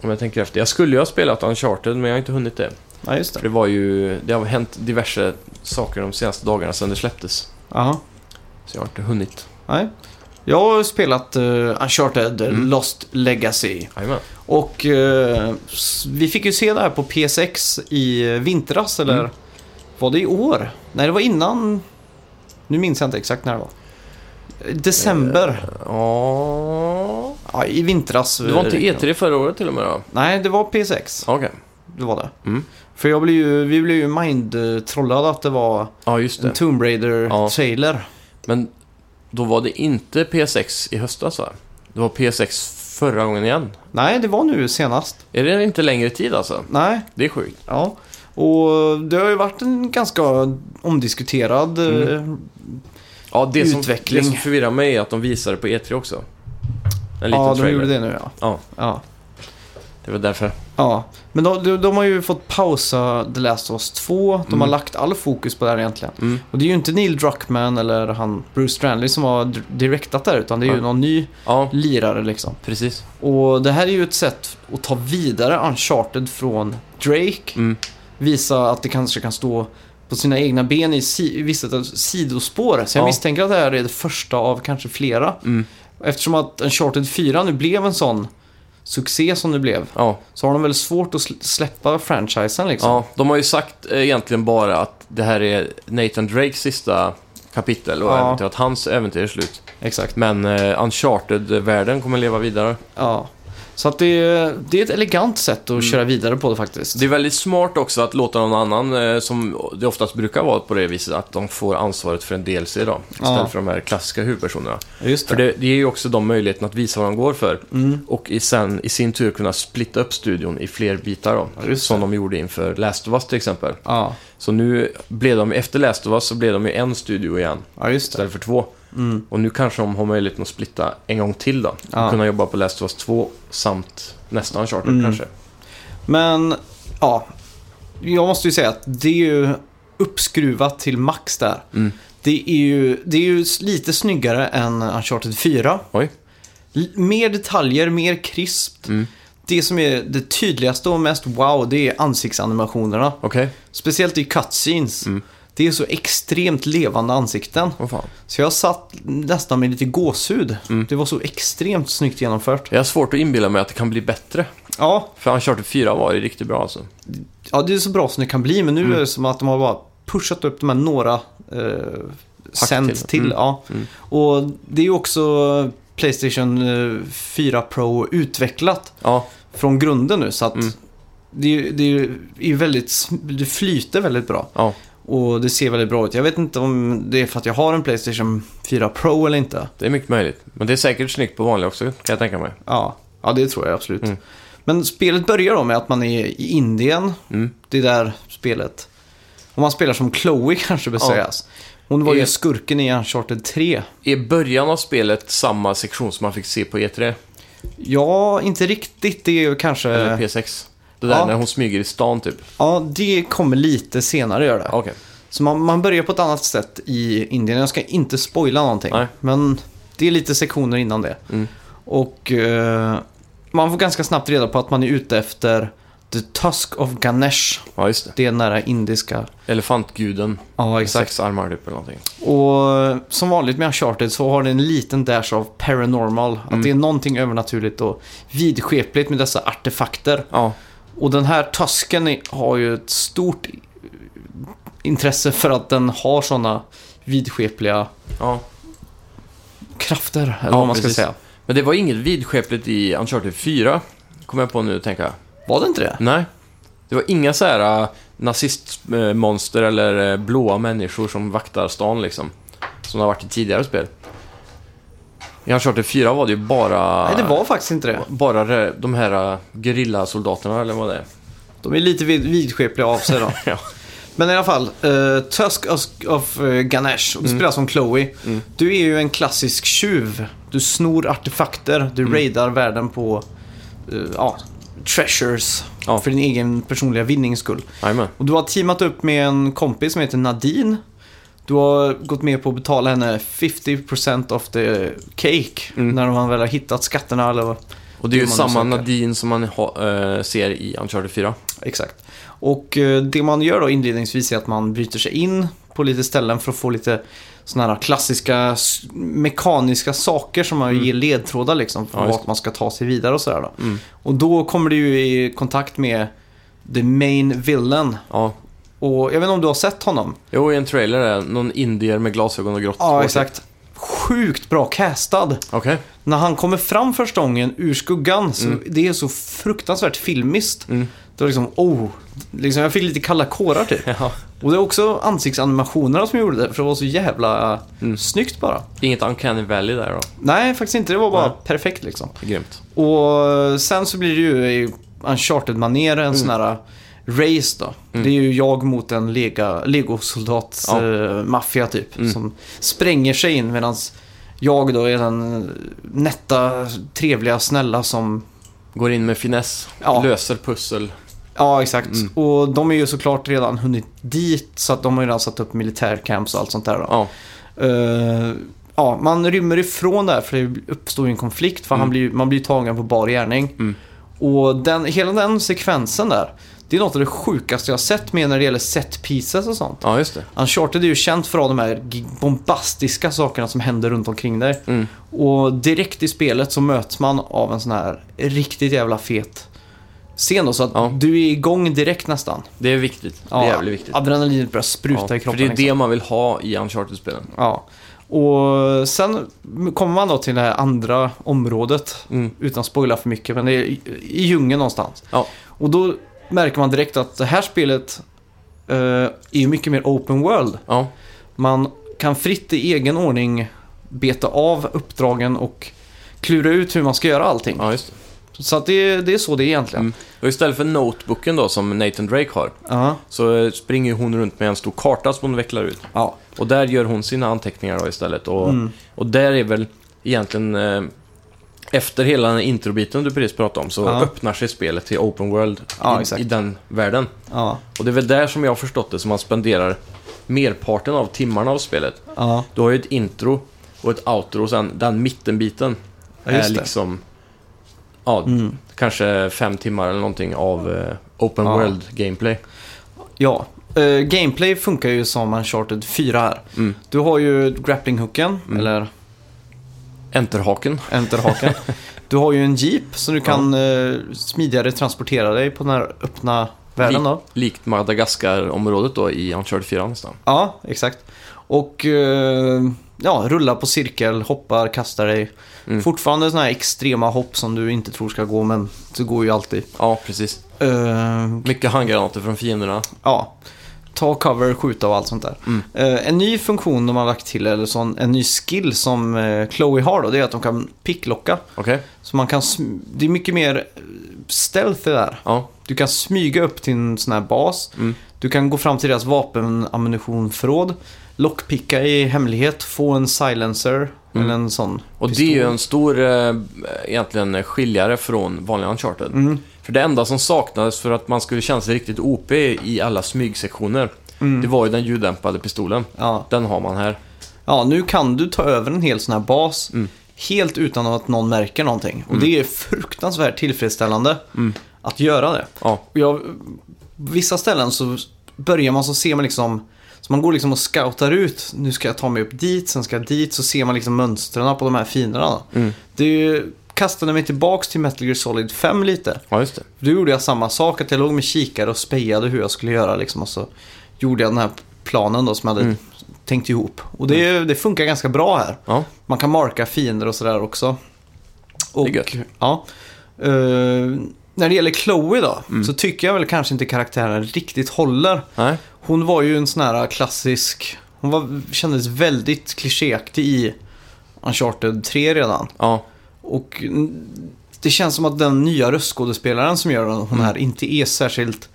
Om jag tänker efter. Jag skulle ju ha spelat Uncharted, men jag har inte hunnit det. ja, just För det. det var ju... Det har hänt diverse saker de senaste dagarna sedan det släpptes. Jaha. Så jag har inte hunnit. Nej. Jag har spelat eh, Uncharted eh, Mm. Lost Legacy. Jajamän. Och eh, s- vi fick ju se det här på PSX i eh, vintras, eller Mm. var det i år? Nej, det var innan... Nu minns jag inte exakt när det var. Eh, December. Ja... Ja, i vintras. Det var inte E eh, E3 förra året till och med då? Nej, det var PSX. Okej. Det var det. Mm. För jag blev ju, vi blev ju mind-trollade att det var Ja, just en det. Tomb Raider-trailer. Men då var det inte PSX i höstas va? Det var PSX förra gången igen. Nej, det var nu senast. Är det inte längre tid alltså? Nej, Det är sjukt. ja. Och det har ju varit en ganska omdiskuterad... Mm. eh, Ja, det som, Utveckling. det som förvirrar mig är att de visade på E3 också. En liten Ja, de trailer. gjorde det. det nu ja. Ja. ja. var därför. Ja, men de, de, de har ju fått pausa The Last of Us 2. De har Mm. lagt all fokus på det här egentligen. Mm. Och det är ju inte Neil Druckmann eller han Bruce Stanley som har dir- direktat där utan det är ju Nej. någon ny Ja, lirare liksom. precis. Och det här är ju ett sätt att ta vidare Uncharted från Drake. Mm. Visa att det kanske kan stå på sina egna ben i si- vissa sidospår. Så jag Ja. misstänker att det här är det första av kanske flera. Mm. Eftersom att Uncharted 4 nu blev en sån succé som det blev. Ja. Så har de väl svårt att sl- släppa franchisen liksom. ja, de har ju sagt eh, egentligen bara att det här är Nathan Drakes sista kapitel och Ja. äventyr, att hans äventyr är slut. Exakt. Men eh, Uncharted-världen kommer leva vidare. Ja. Så att det, det är ett elegant sätt att köra vidare på det faktiskt. Det är väldigt smart också att låta någon annan, eh, som det oftast brukar vara på det viset, att de får ansvaret för en DLC då. Istället Ja. för de här klassiska huvudpersonerna. Just För det, det ger ju också de möjligheten att visa vad de går för. Mm. Och i, sen, i sin tur kunna splitta upp studion i fler bitar då. Ja, just som det. de gjorde inför Last of Us till exempel. Ja. Så nu blev de, efter Last of Us så blev de ju en studio igen. ja, just det. Istället för två. Mm. Och nu kanske de har möjligheten att splitta en gång till då. Och Ja. kunna jobba på Last of Us 2 samt nästa Uncharted Mm. kanske. Men, ja. Jag måste ju säga att det är ju uppskruvat till max där. Mm. Det är ju, det är ju lite snyggare än Uncharted 4. Oj. L- mer detaljer, mer krispt. Mm. Det som är det tydligaste och mest wow, det är ansiktsanimationerna. Okej. Speciellt i cutscenes. Mm. Det är så extremt levande ansikten. Vad fan. Så jag satt nästan med lite gåshud. Mm. Det var så extremt snyggt genomfört. Jag har svårt att inbilla mig att det kan bli bättre. Ja, För Uncharted 4 var ju riktigt bra alltså. ja det är så bra som det kan bli. Men nu Mm. är det som att de har bara pushat upp de här några eh, cent till. till. Mm. Ja. Mm. Och det är ju också Playstation eh, 4 Pro utvecklat Ja, från grunden nu. Så att Mm. det, är- det är- är väldigt, sm- det flyter väldigt bra. ja. Och det ser väldigt bra ut. Jag vet inte om det är för att jag har en Playstation 4 Pro eller inte. Det är mycket möjligt. Men det är säkert snyggt på vanliga också, kan jag tänka mig. Ja, ja det tror jag absolut. Mm. Men spelet börjar då med att man är i Indien. Mm. Det är där spelet... Om man spelar som Chloe kanske bör Ja. sägas. Hon var ju Är- skurken i Uncharted 3. Är början av spelet samma sektion som man fick se på E E3? Ja, inte riktigt. Det är ju kanske... Eller P6? Det där Eh. ja. när hon smyger i stan typ? Ja, det kommer lite senare gör det. Okej. Så man, man börjar på ett annat sätt i Indien. Jag ska inte spoila någonting. Nej. Men det är lite sektioner innan det. Mm. Och eh, man får ganska snabbt reda på att man är ute efter The Tusk of Ganesh. Ja, just det. Det är den där indiska. Elefantguden. Ja, Med sex armar typ eller någonting. Och eh, som vanligt med Uncharted så har det en liten dash av paranormal. Att Mm. det är någonting övernaturligt och vidskepligt med dessa artefakter. Ja. Och den här tusken är- har ju ett stort i- intresse för att den har sådana vidskepliga ja. krafter, eller Ja, vad man precis. ska säga. Men det var inget vidskepligt i Uncharted 4, kommer jag på nu tänker jag. Var det inte det? Nej. Det var inga så här äh, nazistmonster eller äh, blåa människor som vaktar stan liksom. Som det har varit i tidigare spel. I Uncharted 4 var det ju bara... Nej, det var faktiskt inte det. Bara re- de här äh, gerillasoldaterna eller vad det är. De är lite vid, vidskepliga av sig då. Ja. Men i alla fall, eh, Tusk of, of eh, Ganesh, och du Mm. spelar som Chloe. Du är ju en klassisk tjuv. Du snor artefakter, Mm. du raidar världen på eh, ja, treasures Ja. för din egen personliga vinnings skull. Jajamän. Och du har teamat upp med en kompis som heter Nadine. Du har gått med på att betala henne 50% of the cake Mm. när man väl har hittat skatterna eller vad. Och det är ju Det man samma söker. Nadine som man ha, eh, ser i Uncharted 4. Exakt. Och eh, det man gör då inledningsvis är att man bryter sig in på lite ställen för att få lite sådana här klassiska s- mekaniska saker som man ger ledtrådar liksom för Mm. Ja, just vart man ska ta sig vidare och sådär då. Mm. Och då kommer du ju i kontakt med the main villain. Ja. Och jag vet inte om du har sett honom? Jo, i en trailer är någon indier med glasögon och grått hår. Ja, exakt. Sjukt bra castad. Okej. När han kommer fram första gången ur skuggan, så det är så fruktansvärt filmiskt. Mm. Det var liksom, oh, liksom, jag fick lite kalla kårar typ. Ja. Och det är också ansiktsanimationerna som gjorde det, för det var så jävla Mm. snyggt bara. Inget Uncanny Valley där då. Nej, faktiskt inte. Det var bara Nej. perfekt liksom. Grymt. Och sen så blir det ju i Uncharted-manér en sån Mm. här uh, race då. Det är ju jag mot en lega, legosoldats Ja. Mm. eh, maffia typ. Som spränger sig in medan jag då är den uh, nätta, trevliga, snälla som... Går in med finess, Ja. löser pussel. Ja, exakt. Mm. Och de är ju såklart redan hunnit dit så att de har ju redan satt upp militärcamps och allt sånt där då. Ja. Eh, ja, man rymmer ifrån det här för det uppstår ju en konflikt för han blir, man blir tagen på bar gärning. Mm. Och den, hela den sekvensen där, det är något av det sjukaste jag har sett med när det gäller set pieces och sånt. ja, just det. Uncharted är ju känt för att ha de här gig- bombastiska sakerna som händer runt omkring dig. Mm. Och direkt i spelet så möts man av en sån här riktigt jävla fet scen då, så att Ja. du är igång direkt nästan. Det är viktigt. Det Ja, är jävligt viktigt. Adrenalinet börjar spruta i för kroppen. det är liksom. det man vill ha i Uncharted-spelen. Ja. Och sen kommer man då till det här andra området. Mm. Utan att spoila för mycket, men det är i- i djungeln någonstans. Ja. Och då märker man direkt att det här spelet eh, är ju mycket mer open world. Ja. Man kan fritt i egen ordning beta av uppdragen och klura ut hur man ska göra allting. ja, just det. Så att det, det är så det är egentligen. Mm. Och istället för notebooken då, som Nathan Drake har, Ja. så eh, springer hon runt med en stor karta som hon vecklar ut. ja. Och där gör hon sina anteckningar då istället. Och, Mm. och där är väl egentligen, eh, efter hela den här introbiten du precis pratade om, så Ja. öppnar sig spelet till open world Ja, i, exakt. i den världen. Ja. Och det är väl där som jag har förstått det som man spenderar merparten av timmarna av spelet. Ja. Du har ju ett intro och ett outro och sen den mittenbiten Ja, just det. är Mm. liksom ja, kanske fem timmar eller någonting av eh, open Ja. world gameplay. Ja, eh, gameplay funkar ju som Uncharted 4 här. Mm. Du har ju grapplinghooken, eller Enterhaken. enterhaken. du har ju en jeep så du kan eh, smidigare transportera dig på den här öppna världen då. Likt Madagaskar-området då i Uncharted 4 nästan. Ja, exakt. Och eh, ja, rulla på cirkel, hoppar, kastar dig. Mm. Fortfarande sådana här extrema hopp som du inte tror ska gå, men det går ju alltid. Ja, precis. Eh, Mycket handgranater från fienderna. ja, ta cover, skjuta och allt sånt där. Mm. Eh, en ny funktion de har lagt till, eller sån, en ny skill som eh, Chloe har då, det är att de kan picklocka. Okej? Så man kan, sm- det är mycket mer eh, stealth det där. Ja. Du kan smyga upp till en sån här bas. Mm. Du kan gå fram till deras vapenammunitionförråd, lockpicka i hemlighet, få en silencer Mm. eller en sån. Och pistol. det är ju en stor, eh, egentligen, skiljare från vanliga Uncharted. Mm. För det enda som saknades för att man skulle känna sig riktigt OP i alla smygsektioner, Mm. det var ju den ljuddämpade pistolen. Ja. Den har man här. ja, nu kan du ta över en hel sån här bas Mm. helt utan att någon märker någonting. Och det är fruktansvärt tillfredsställande Mm. att göra det. Ja, Och jag, vissa ställen så börjar man så ser man liksom, så man går liksom och scoutar ut. Nu ska jag ta mig upp dit, sen ska jag dit. Så ser man liksom mönstren på de här fienderna. Mm. Det är ju, kastade mig tillbaks till Metal Gear Solid 5 lite. ja just det. Då gjorde jag samma sak, att jag låg med kikare och spejade hur jag skulle göra liksom. Och så gjorde jag den här planen då som jag hade Mm. tänkt ihop. Och det, det funkar ganska bra här. Ja, Man kan marka fiender och sådär också. Och, Det är gött. Ja. Eh, när det gäller Chloe då, Mm. så tycker jag väl kanske inte karaktären riktigt håller. nej. Hon var ju en sån här klassisk, hon var, kändes väldigt klichéaktig i Uncharted 3 redan. Ja, Och mm, det känns som att den nya röstskådespelaren som gör hon Mm. här inte är särskilt...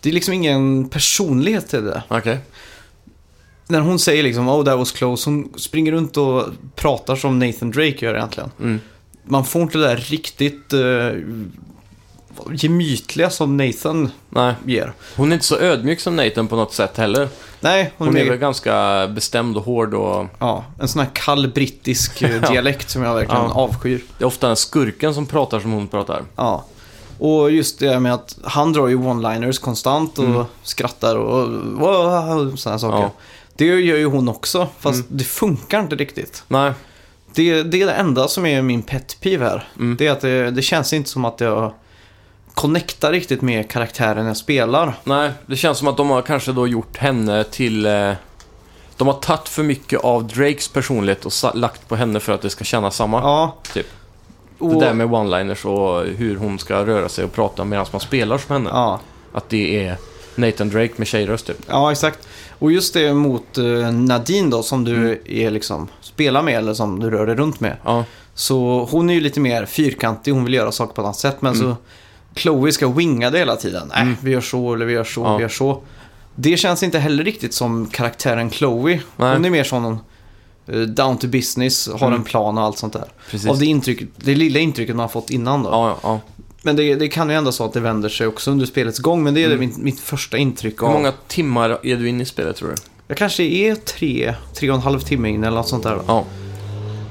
Det är liksom ingen personlighet i det. okej. När hon säger liksom oh that was close, hon springer runt och pratar som Nathan Drake gör egentligen. Mm. Man får inte det där riktigt eh, gemytliga som Nathan Nej, ger. hon är inte så ödmjuk som Nathan på något sätt heller. Nej, hon, Hon är, är väl mer, ganska bestämd och hård och... ja, en sån här kall brittisk eh, dialekt som jag verkligen Ja. avskyr. Det är ofta skurken som pratar som hon pratar. Ja. Och just det med att han drar ju one-liners konstant och skrattar och, och sådana saker. Mm. Ja. Mm. Det gör ju hon också, fast det funkar inte riktigt. Nej, Det, det är det enda som är min pet peeve här. Mm. Det är att det, det känns inte som att jag connectar riktigt med karaktären jag spelar. nej. Det känns som att de har kanske då gjort henne till... Eh, de har tagit för mycket av Drakes personlighet och sa- lagt på henne för att det ska kännas samma. Ja. Typ. Och, Det där med one-liners och hur hon ska röra sig och prata medan man spelar som henne. ja. Att det är Nathan Drake med tjejröst typ. ja, exakt. Och just det mot eh, Nadine då, som du Mm. är liksom, spelar med eller som du rör dig runt med. Ja, Så hon är ju lite mer fyrkantig, hon vill göra saker på ett annat sätt. Men Mm. så Chloe ska winga det hela tiden. Nej, vi gör så eller vi gör så, Ja. vi gör så. Det känns inte heller riktigt som karaktären Chloe. Nej. Mm. Hon är mer sån eh, down to business, har en plan och allt sånt där. precis. Av det, intrycket, det lilla intrycket man har fått innan då. ja, ja, ja. Men det, det kan ju ändå så att det vänder sig också under spelets gång. Men det är det mitt, mitt första intryck av. Mm. Hur många timmar är du inne i spelet tror du? Jag kanske är tre, tre och en halv timme in eller något sånt där. Då. Ja,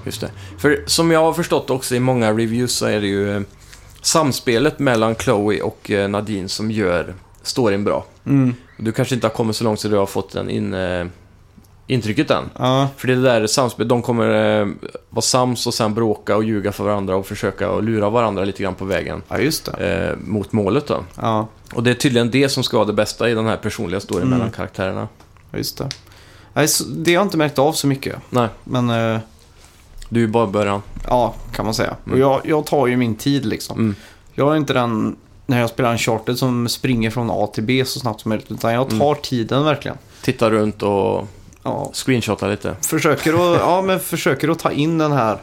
just det. För som jag har förstått också i många reviews så är det ju eh, samspelet mellan Chloe och eh, Nadine som gör storyn bra. Mm. Du kanske inte har kommit så långt så du har fått den in, eh, intrycket än. Ja. För det är det där samspelet, de kommer eh, vara sams och sen bråka och ljuga för varandra och försöka och lura varandra lite grann på vägen ja, just det. eh, mot målet då. Ja. Och det är tydligen det som ska vara det bästa i den här personliga storyn Mm. mellan karaktärerna. Ja, just det. Nej, så- Det har jag inte märkt av så mycket. Nej, Men eh, du är ju bara i början. ja, kan man säga. Mm. Och jag, jag tar ju min tid liksom. Mm. Jag är inte den, när jag spelar en charter som springer från A till B så snabbt som möjligt. Utan jag Mm. tar tiden verkligen. Titta runt och Ja, screenshotta lite. försöker, att, ja, men försöker att ta in den här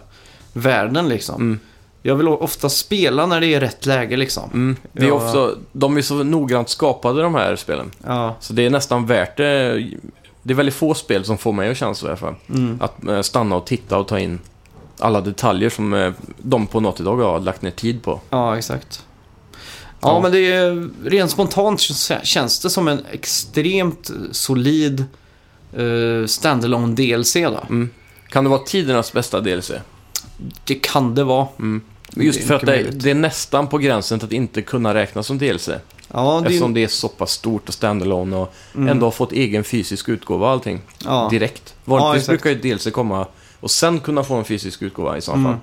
världen liksom. Mm. Jag vill o- ofta spela när det är rätt läge liksom. Mm. Det är Ja. också, de är så noggrant skapade de här spelen. Ja, Så det är nästan värt det. Det är väldigt få spel som får mig att känna så i alla fall. mm. Att eh, stanna och titta och ta in alla detaljer som eh, de på något idag har lagt ner tid på. ja exakt. Ja, Ja. men det är rent spontant k- känns det som en extremt solid uh, standalone DLC då. Kan det vara tidernas bästa DLC? Det kan det vara. Mm. Just Det är för att mycket det, möjligt. det är nästan på gränsen till att inte kunna räknas som DLC. Ja, det, Mm. Eftersom det är så pass stort och standalone och ändå har fått egen fysisk utgåva och allting. ja. Direkt. Vanligtvis exakt. brukar ju DLC komma och sen kunna få en fysisk utgåva i så fall. Mm.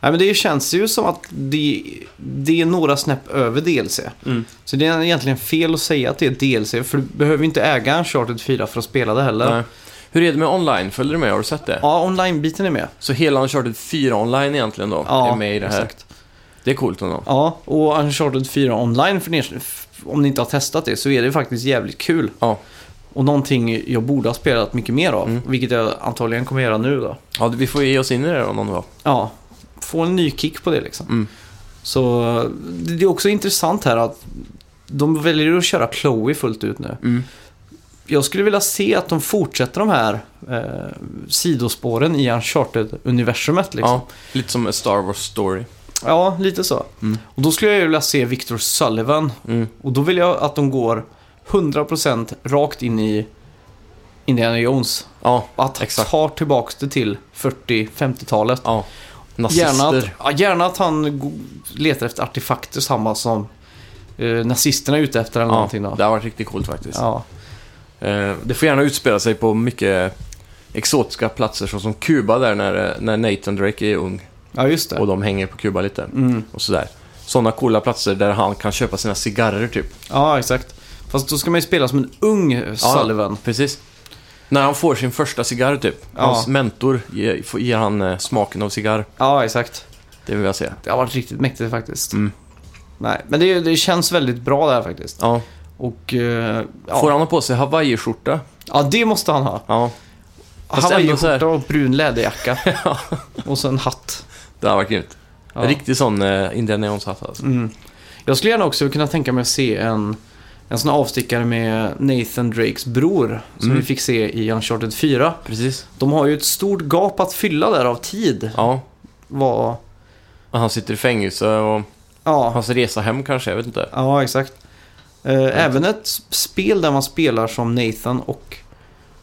Nej, men det känns ju som att det, det är några snäpp över DLC. Mm. Så det är egentligen fel att säga att det är DLC, för du behöver ju inte äga Uncharted 4 för att spela det heller. Nej. Hur är det med online? Följer du med? Har du sett det? Ja, online-biten är med. Så hela Uncharted 4 online egentligen då Ja, är med i det här. exakt. Det är coolt ändå. Ja, och Uncharted 4 online, för er, om ni inte har testat det, så är det faktiskt jävligt kul. Ja. Och någonting jag borde ha spelat mycket mer av, Mm. vilket jag antagligen kommer göra nu då. ja, vi får ge oss in i det då någon dag. Ja, få en ny kick på det liksom. Mm. Så det är också intressant här att de väljer att köra Chloe fullt ut nu. Mm. Jag skulle vilja se att de fortsätter de här eh, sidospåren i Uncharted-universumet. Liksom. Ja, lite som en Star Wars story. Ja. lite så. Mm. Och då skulle jag ju vilja se Victor Sullivan. Mm. Och då vill jag att de går 100% rakt in i Indiana Jones. Ja, Och Att han Exakt. tar tillbaka det till 40-50-talet. ja. Gärna Nazister. att, ja, gärna att han go- letar efter artefakter samma som eh, nazisterna är ute efter eller Ja, någonting. Då. det har varit riktigt coolt faktiskt. Ja. Eh, det får gärna utspela sig på mycket exotiska platser såsom Kuba där när, eh, när Nathan Drake är ung ja, just det. och de hänger på Kuba lite. Mm. Och sådär. Sådana coola platser där han kan köpa sina cigarrer typ. Ja, exakt. Fast då ska man ju spela som en ung Sullivan. Precis. När han får sin första cigarr typ. Ja. Hans mentor ger, får- ger han eh, smaken av cigarr. Ja, exakt. Det vill jag se. Det har varit riktigt mäktigt faktiskt. Mm. Nej, men det, det känns väldigt bra där faktiskt. Ja. Och eh, Får ja. han ha på sig hawaiiskjorta? ja, det måste han ha. Ja. Fast ändå så här- Hawaiiskjorta och brun läderjacka. Och så en hatt. Det hade varit grymt. Ja. En riktig sån eh, Indiana Jones-hatt alltså. Mm. Jag skulle gärna också kunna tänka mig att se en, en sån här avstickare med Nathan Drakes bror. Som Mm. vi fick se i Uncharted 4. Precis. De har ju ett stort gap att fylla där av tid. Ja. Vad... Och han sitter i fängelse och Ja, hans resa hem kanske, jag vet inte. ja exakt. Eh, Även ett spel där man spelar som Nathan och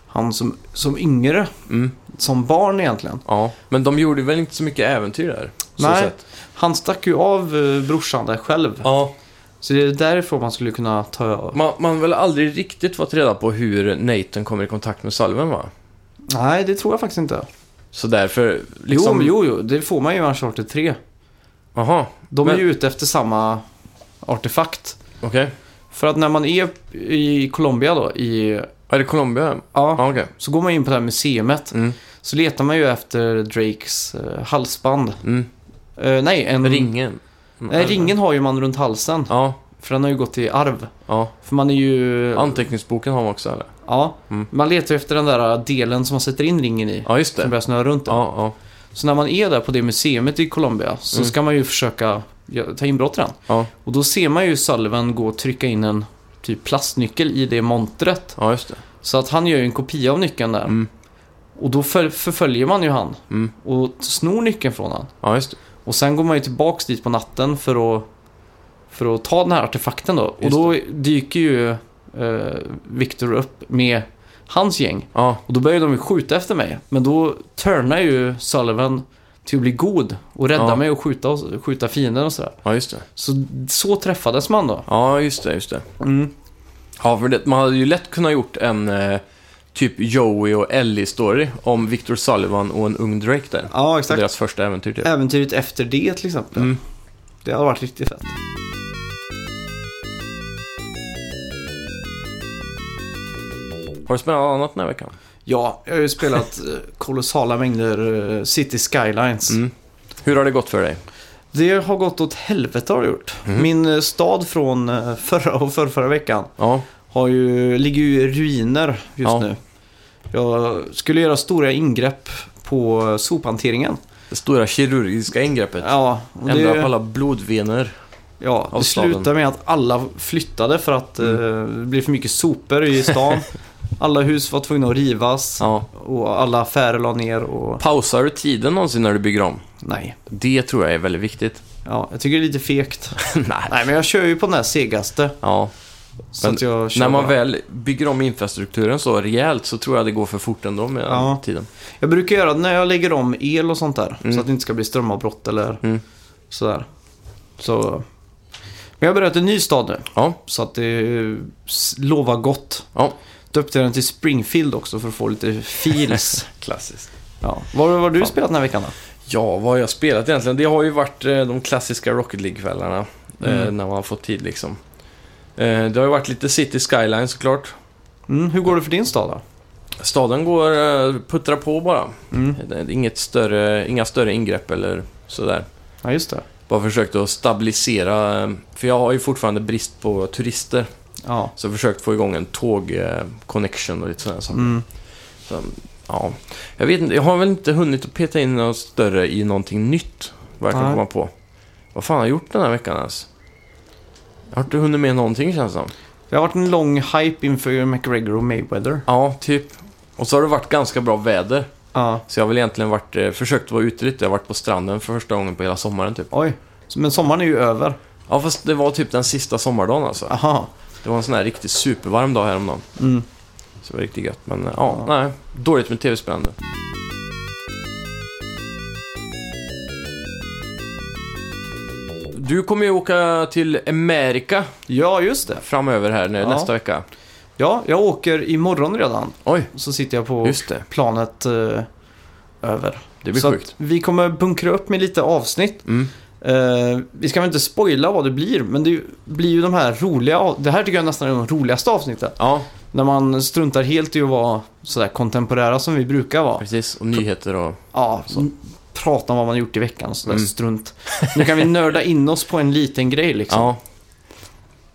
han som, som yngre. Mm. Som barn egentligen. Ja. Men de gjorde väl inte så mycket äventyr där? Så Nej. Sett. Han stack ju av eh, brorsan där själv. Ja. Så det är därifrån man skulle kunna ta över. Man, man har väl aldrig riktigt fått reda på hur Nathan kommer i kontakt med Salven va? Nej, det tror jag faktiskt inte. Så därför, liksom... Jo, jo, jo, det får man ju i Uncharted 3. Aha, De Men- är ju ute efter samma artefakt. okej. För att när man är i Colombia då, i... Är det Colombia? Ja, Ja, okej. så går man in på det här museumet. Mm. Så letar man ju efter Drakes eh, halsband. Mm. Eh, nej, en... Ringen. Nej, ringen har ju man runt halsen. Ja, För den har ju gått i arv. ja. För man är ju... Anteckningsboken har man också eller? ja. Mm. Man letar ju efter den där delen som man sätter in ringen i. Ja, just Som det. börjar snurra runt den. Ja, ja. Så när man är där på det museet i Colombia så Mm. ska man ju försöka gö- ta inbrott i den. Ja, Och då ser man ju Salven gå och trycka in en typ plastnyckel i det montret. ja just det. Så att han gör ju en kopia av nyckeln där. Mm. Och då för- förföljer man ju han Mm. och snor nyckeln från han. Ja, just det. Och sen går man ju tillbaks dit på natten för att, för att ta den här artefakten då. Just och då dyker ju eh, Victor upp med hans gäng. Ja, Och då börjar de ju skjuta efter mig. Men då turnar ju Sullivan till att bli god och rädda Ja. mig och skjuta, oss- skjuta fienden och sådär. ja just det. Så, så träffades man då. Ja, just det, just det. Mm. Ja, för det, man hade ju lätt kunnat gjort en eh, typ Joey och Ellie-story om Victor Sullivan och en ung Drake där. Ja, Och Deras första äventyr typ. Äventyret efter det till exempel. Mm. Det hade varit riktigt fett. Har du spelat något annat den här veckan? Ja, jag har ju spelat eh, kolossala mängder eh, City Skylines. Mm. Hur har det gått för dig? Det har gått åt helvete har det gjort. Min eh, stad från eh, förra och förrförra veckan Ja, har ju, ligger ju i ruiner just Ja. nu. Jag skulle göra stora ingrepp på eh, sophanteringen. det stora kirurgiska ingreppet. Ja, och Ändra på det, alla blodvener. ja, av det staden. Mm. slutade med att alla flyttade för att eh, det blev för mycket sopor i stan. alla hus var tvungna att rivas Ja. och alla affärer la ner och Pausar du tiden någonsin när du bygger om? nej. Det tror jag är väldigt viktigt. Ja, jag tycker det är lite fegt. Nej. nej, men jag kör ju på den här segaste. Ja, Så Men att jag kör när man bara. väl bygger om infrastrukturen så rejält så tror jag det går för fort ändå med Ja. tiden. Jag brukar göra det när jag lägger om el och sånt där. Mm. Så att det inte ska bli strömavbrott eller Mm. sådär. Så... Men jag har börjat en ny stad nu. Ja, Så att det eh, s- lovar gott. ja. Döpte den till Springfield också för att få lite feels. Klassiskt. ja. Vad vad har du Fan. spelat den här veckan då? Ja, vad har jag spelat egentligen? Det har ju varit eh, de klassiska Rocket League-kvällarna. Eh, Mm. när man har fått tid liksom. Eh, det har ju varit lite City Skyline såklart. Mm, hur går det för din stad då? Staden går, eh, puttrar på bara. Mm. Det är Inget större, inga större ingrepp eller sådär. Ja, just det. Bara försökt att stabilisera, eh, för jag har ju fortfarande brist på turister. Ja. Så jag har försökt få igång en tåg-connection och lite sådana saker. Mm. Så, ja. Jag vet inte, jag har väl inte hunnit att peta in något större i någonting nytt. Vad jag kan Nej. komma på. Vad fan har jag gjort den här veckan ens? Jag har inte hunnit med någonting känns det som. Det har varit en lång hype inför McGregor och Mayweather. Ja, typ. Och så har det varit ganska bra väder. Ja. Så jag har väl egentligen varit, eh, försökt vara ute lite. Jag har varit på stranden för första gången på hela sommaren typ. Oj. Men sommaren är ju över. Ja, fast det var typ den sista sommardagen alltså. Aha. Det var en sån här riktigt supervarm dag häromdagen. Mm. Så det var riktigt gött. Men eh, ja, nej. Dåligt med tv-spelande. Du kommer ju åka till Amerika Ja, just det. framöver här nu, Ja. nästa vecka. Ja, jag åker imorgon redan. Oj, Så sitter jag på just det. planet eh, över. Det blir så sjukt. att vi kommer bunkra upp med lite avsnitt. Mm. Eh, vi ska väl inte spoila vad det blir, men det blir ju de här roliga... av- Det här tycker jag nästan är de roligaste avsnitten. Ja, När man struntar helt i att vara sådär kontemporära som vi brukar vara. precis. Och nyheter och... Ja, Så. m- prata om vad man gjort i veckan och sådär Mm. strunt. Nu kan vi nörda in oss på en liten grej liksom. Ja.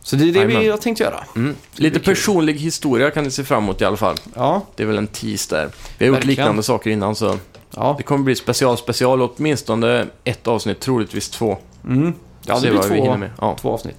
Så det är det Jajamän. vi har tänkt göra. Mm. Lite personlig historia kan ni se fram emot i alla fall. Ja, Det är väl en tease där. Vi har gjort Verkligen. liknande saker innan så ja. det kommer bli special special, åtminstone ett avsnitt, troligtvis två. Mm. ja Se det blir vad vi hinner två, med. Ja. två avsnitt.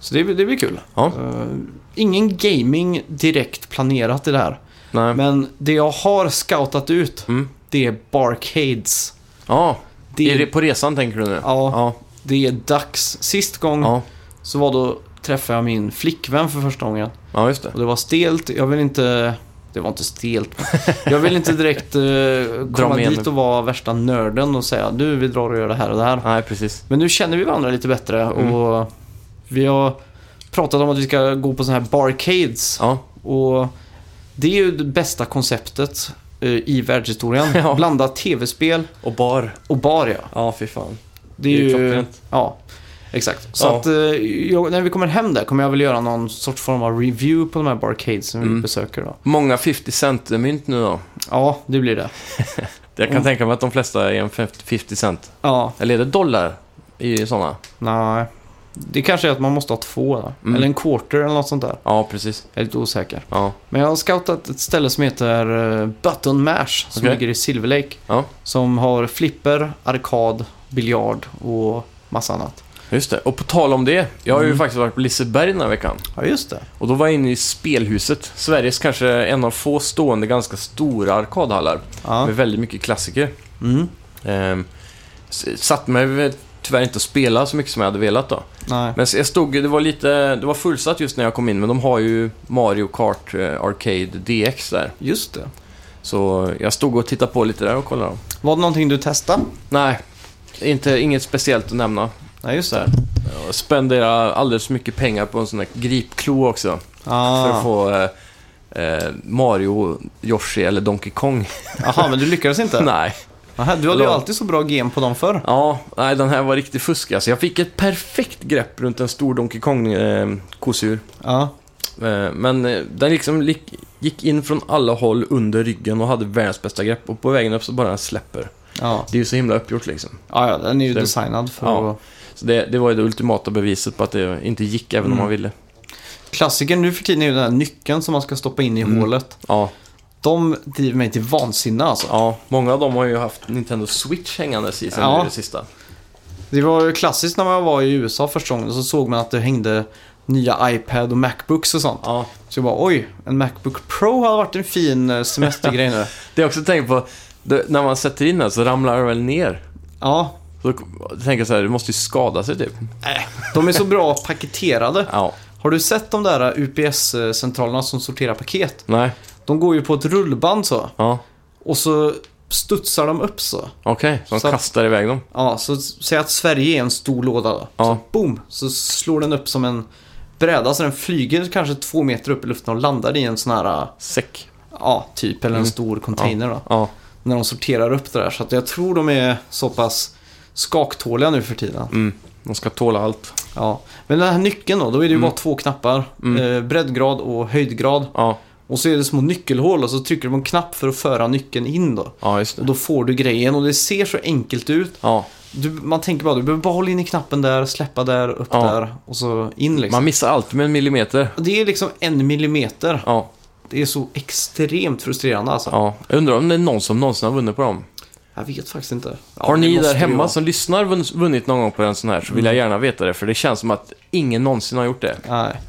Så det, blir- det blir kul. Ja. Eh, ingen gaming direkt planerat i det här. Nej. Men det jag har scoutat ut, Mm. det är Barcades. ja. Det Är är, det på resan tänker du nu? ja, Ja. det är dags. Sist gång Ja, så var då träffade jag min flickvän för första gången. ja just det. Och det var stelt. Jag vill inte... Det var inte stelt. men Jag vill inte direkt eh, komma med henne. dit och vara värsta nörden och säga du, vi drar och gör det här och det här. Nej, precis. Men nu känner vi varandra lite bättre Mm. och vi har pratat om att vi ska gå på sådana här barcades. Ja, Och det är ju det bästa konceptet eh, i världshistorien. Ja. Blanda tv-spel och bar. och bar ja. Ja, fy fan. Det är ju... klockrent. Ja, exakt. Så Ja. att eh, jag, när vi kommer hem där kommer jag väl göra någon sorts form av review på de här barcades som vi Mm. besöker då. Många 50 cent-mynt nu då. Ja, det blir det. Jag kan Mm. tänka mig att de flesta är en 50 50 cent. Ja, Eller är det dollar i sådana? nej. Det kanske är att man måste ha två då. Mm. Eller en quarter eller något sånt där. Ja, precis. Jag är lite osäker. Ja, Men jag har scoutat ett ställe som heter eh, Button Mash som Okej. ligger i Silver Lake. Ja. Som har flipper, arkad, biljard och massa annat. just det. Och på tal om det. Jag har ju Mm. faktiskt varit på Liseberg den här veckan. Ja, just det. Och då var jag inne i Spelhuset. Sveriges kanske en av få stående ganska stora arkadhallar. Ja. Med väldigt mycket klassiker. Mm. Ehm, s- satt mig väl tyvärr inte att spela så mycket som jag hade velat då. Nej. Men så jag stod, det var lite, det var fullsatt just när jag kom in, men de har ju Mario Kart eh, Arcade DX där. Just det. Så jag stod och tittade på lite där och kollade. dem. Var det någonting du testade? Nej, inte, inget speciellt att nämna. Nej, just Så här. Jag spenderade alldeles för mycket pengar på en sån där gripklo också. För att Ah. få eh, eh, Mario, Yoshi eller Donkey Kong. Jaha, men du lyckades inte? Nej. Aha, du hade ju Eller- alltid så bra game på dem förr. Ja, nej, den här var riktigt fusk alltså. Jag fick ett perfekt grepp runt en stor Donkey eh, Kong-kosur. Ja. Eh, Men eh, den liksom lik- gick in från alla håll under ryggen och hade världens bästa grepp. Och på vägen upp så bara den släpper. Ja. Det är ju så himla uppgjort liksom. ja, ja, den är ju Så- designad för Ja. att... Så det, det var ju det ultimata beviset på att det inte gick även om man ville. Klassikern nu för tiden är ju den här nyckeln som man ska stoppa in i Mm. hålet. Ja, De driver mig till vansinne alltså. ja, många av dem har ju haft Nintendo Switch hängandes i sen Ja. ja. det sista. Det var ju klassiskt när man var i USA första gången så såg man att det hängde nya iPad och Macbooks och sånt. Ja. Så jag bara oj, en Macbook Pro har varit en fin eh, semestergrej nu. Det jag också tänkt på, det, när man sätter in den så ramlar den väl ner. Ja, Så då tänker jag så här, det måste ju skada sig typ. de är så bra paketerade. Ja, Har du sett de där eh, UPS-centralerna som sorterar paket? nej, De går ju på ett rullband så ja, och så studsar de upp så. okej. Så de Så att- kastar iväg dem. Ja, så s- säg att Sverige är en stor låda då. Ja. Så boom, så slår den upp som en bräda så den flyger kanske två meter upp i luften och landar i en sån här, eh, Säck. ja, typ, eller en Mm. stor container då. Ja, När de sorterar upp det där. Så att jag tror de är så pass skaktåliga nu för tiden. mm. De ska tåla allt. Ja. Men den här nyckeln då, då är det ju bara två knappar. Mm. Eh, breddgrad och höjdgrad. Ja, Och så är det små nyckelhål och så trycker du på en knapp för att föra nyckeln in då. ja just Och det. då får du grejen och det ser så enkelt ut. Ja, Du, man tänker bara, du behöver bara hålla in i knappen där, släppa där, upp Ja. där och så in liksom. Man missar allt med en millimeter. Och Det är liksom en millimeter. Ja, Det är så extremt frustrerande alltså. ja. Jag undrar om det är någon som någonsin har vunnit på dem. Jag vet faktiskt inte. Ja, har det ni måste där ju hemma vara. Mm. som lyssnar vunn- vunnit någon gång på en sån här så vill jag gärna veta det, för det känns som att ingen någonsin har gjort det. Nej.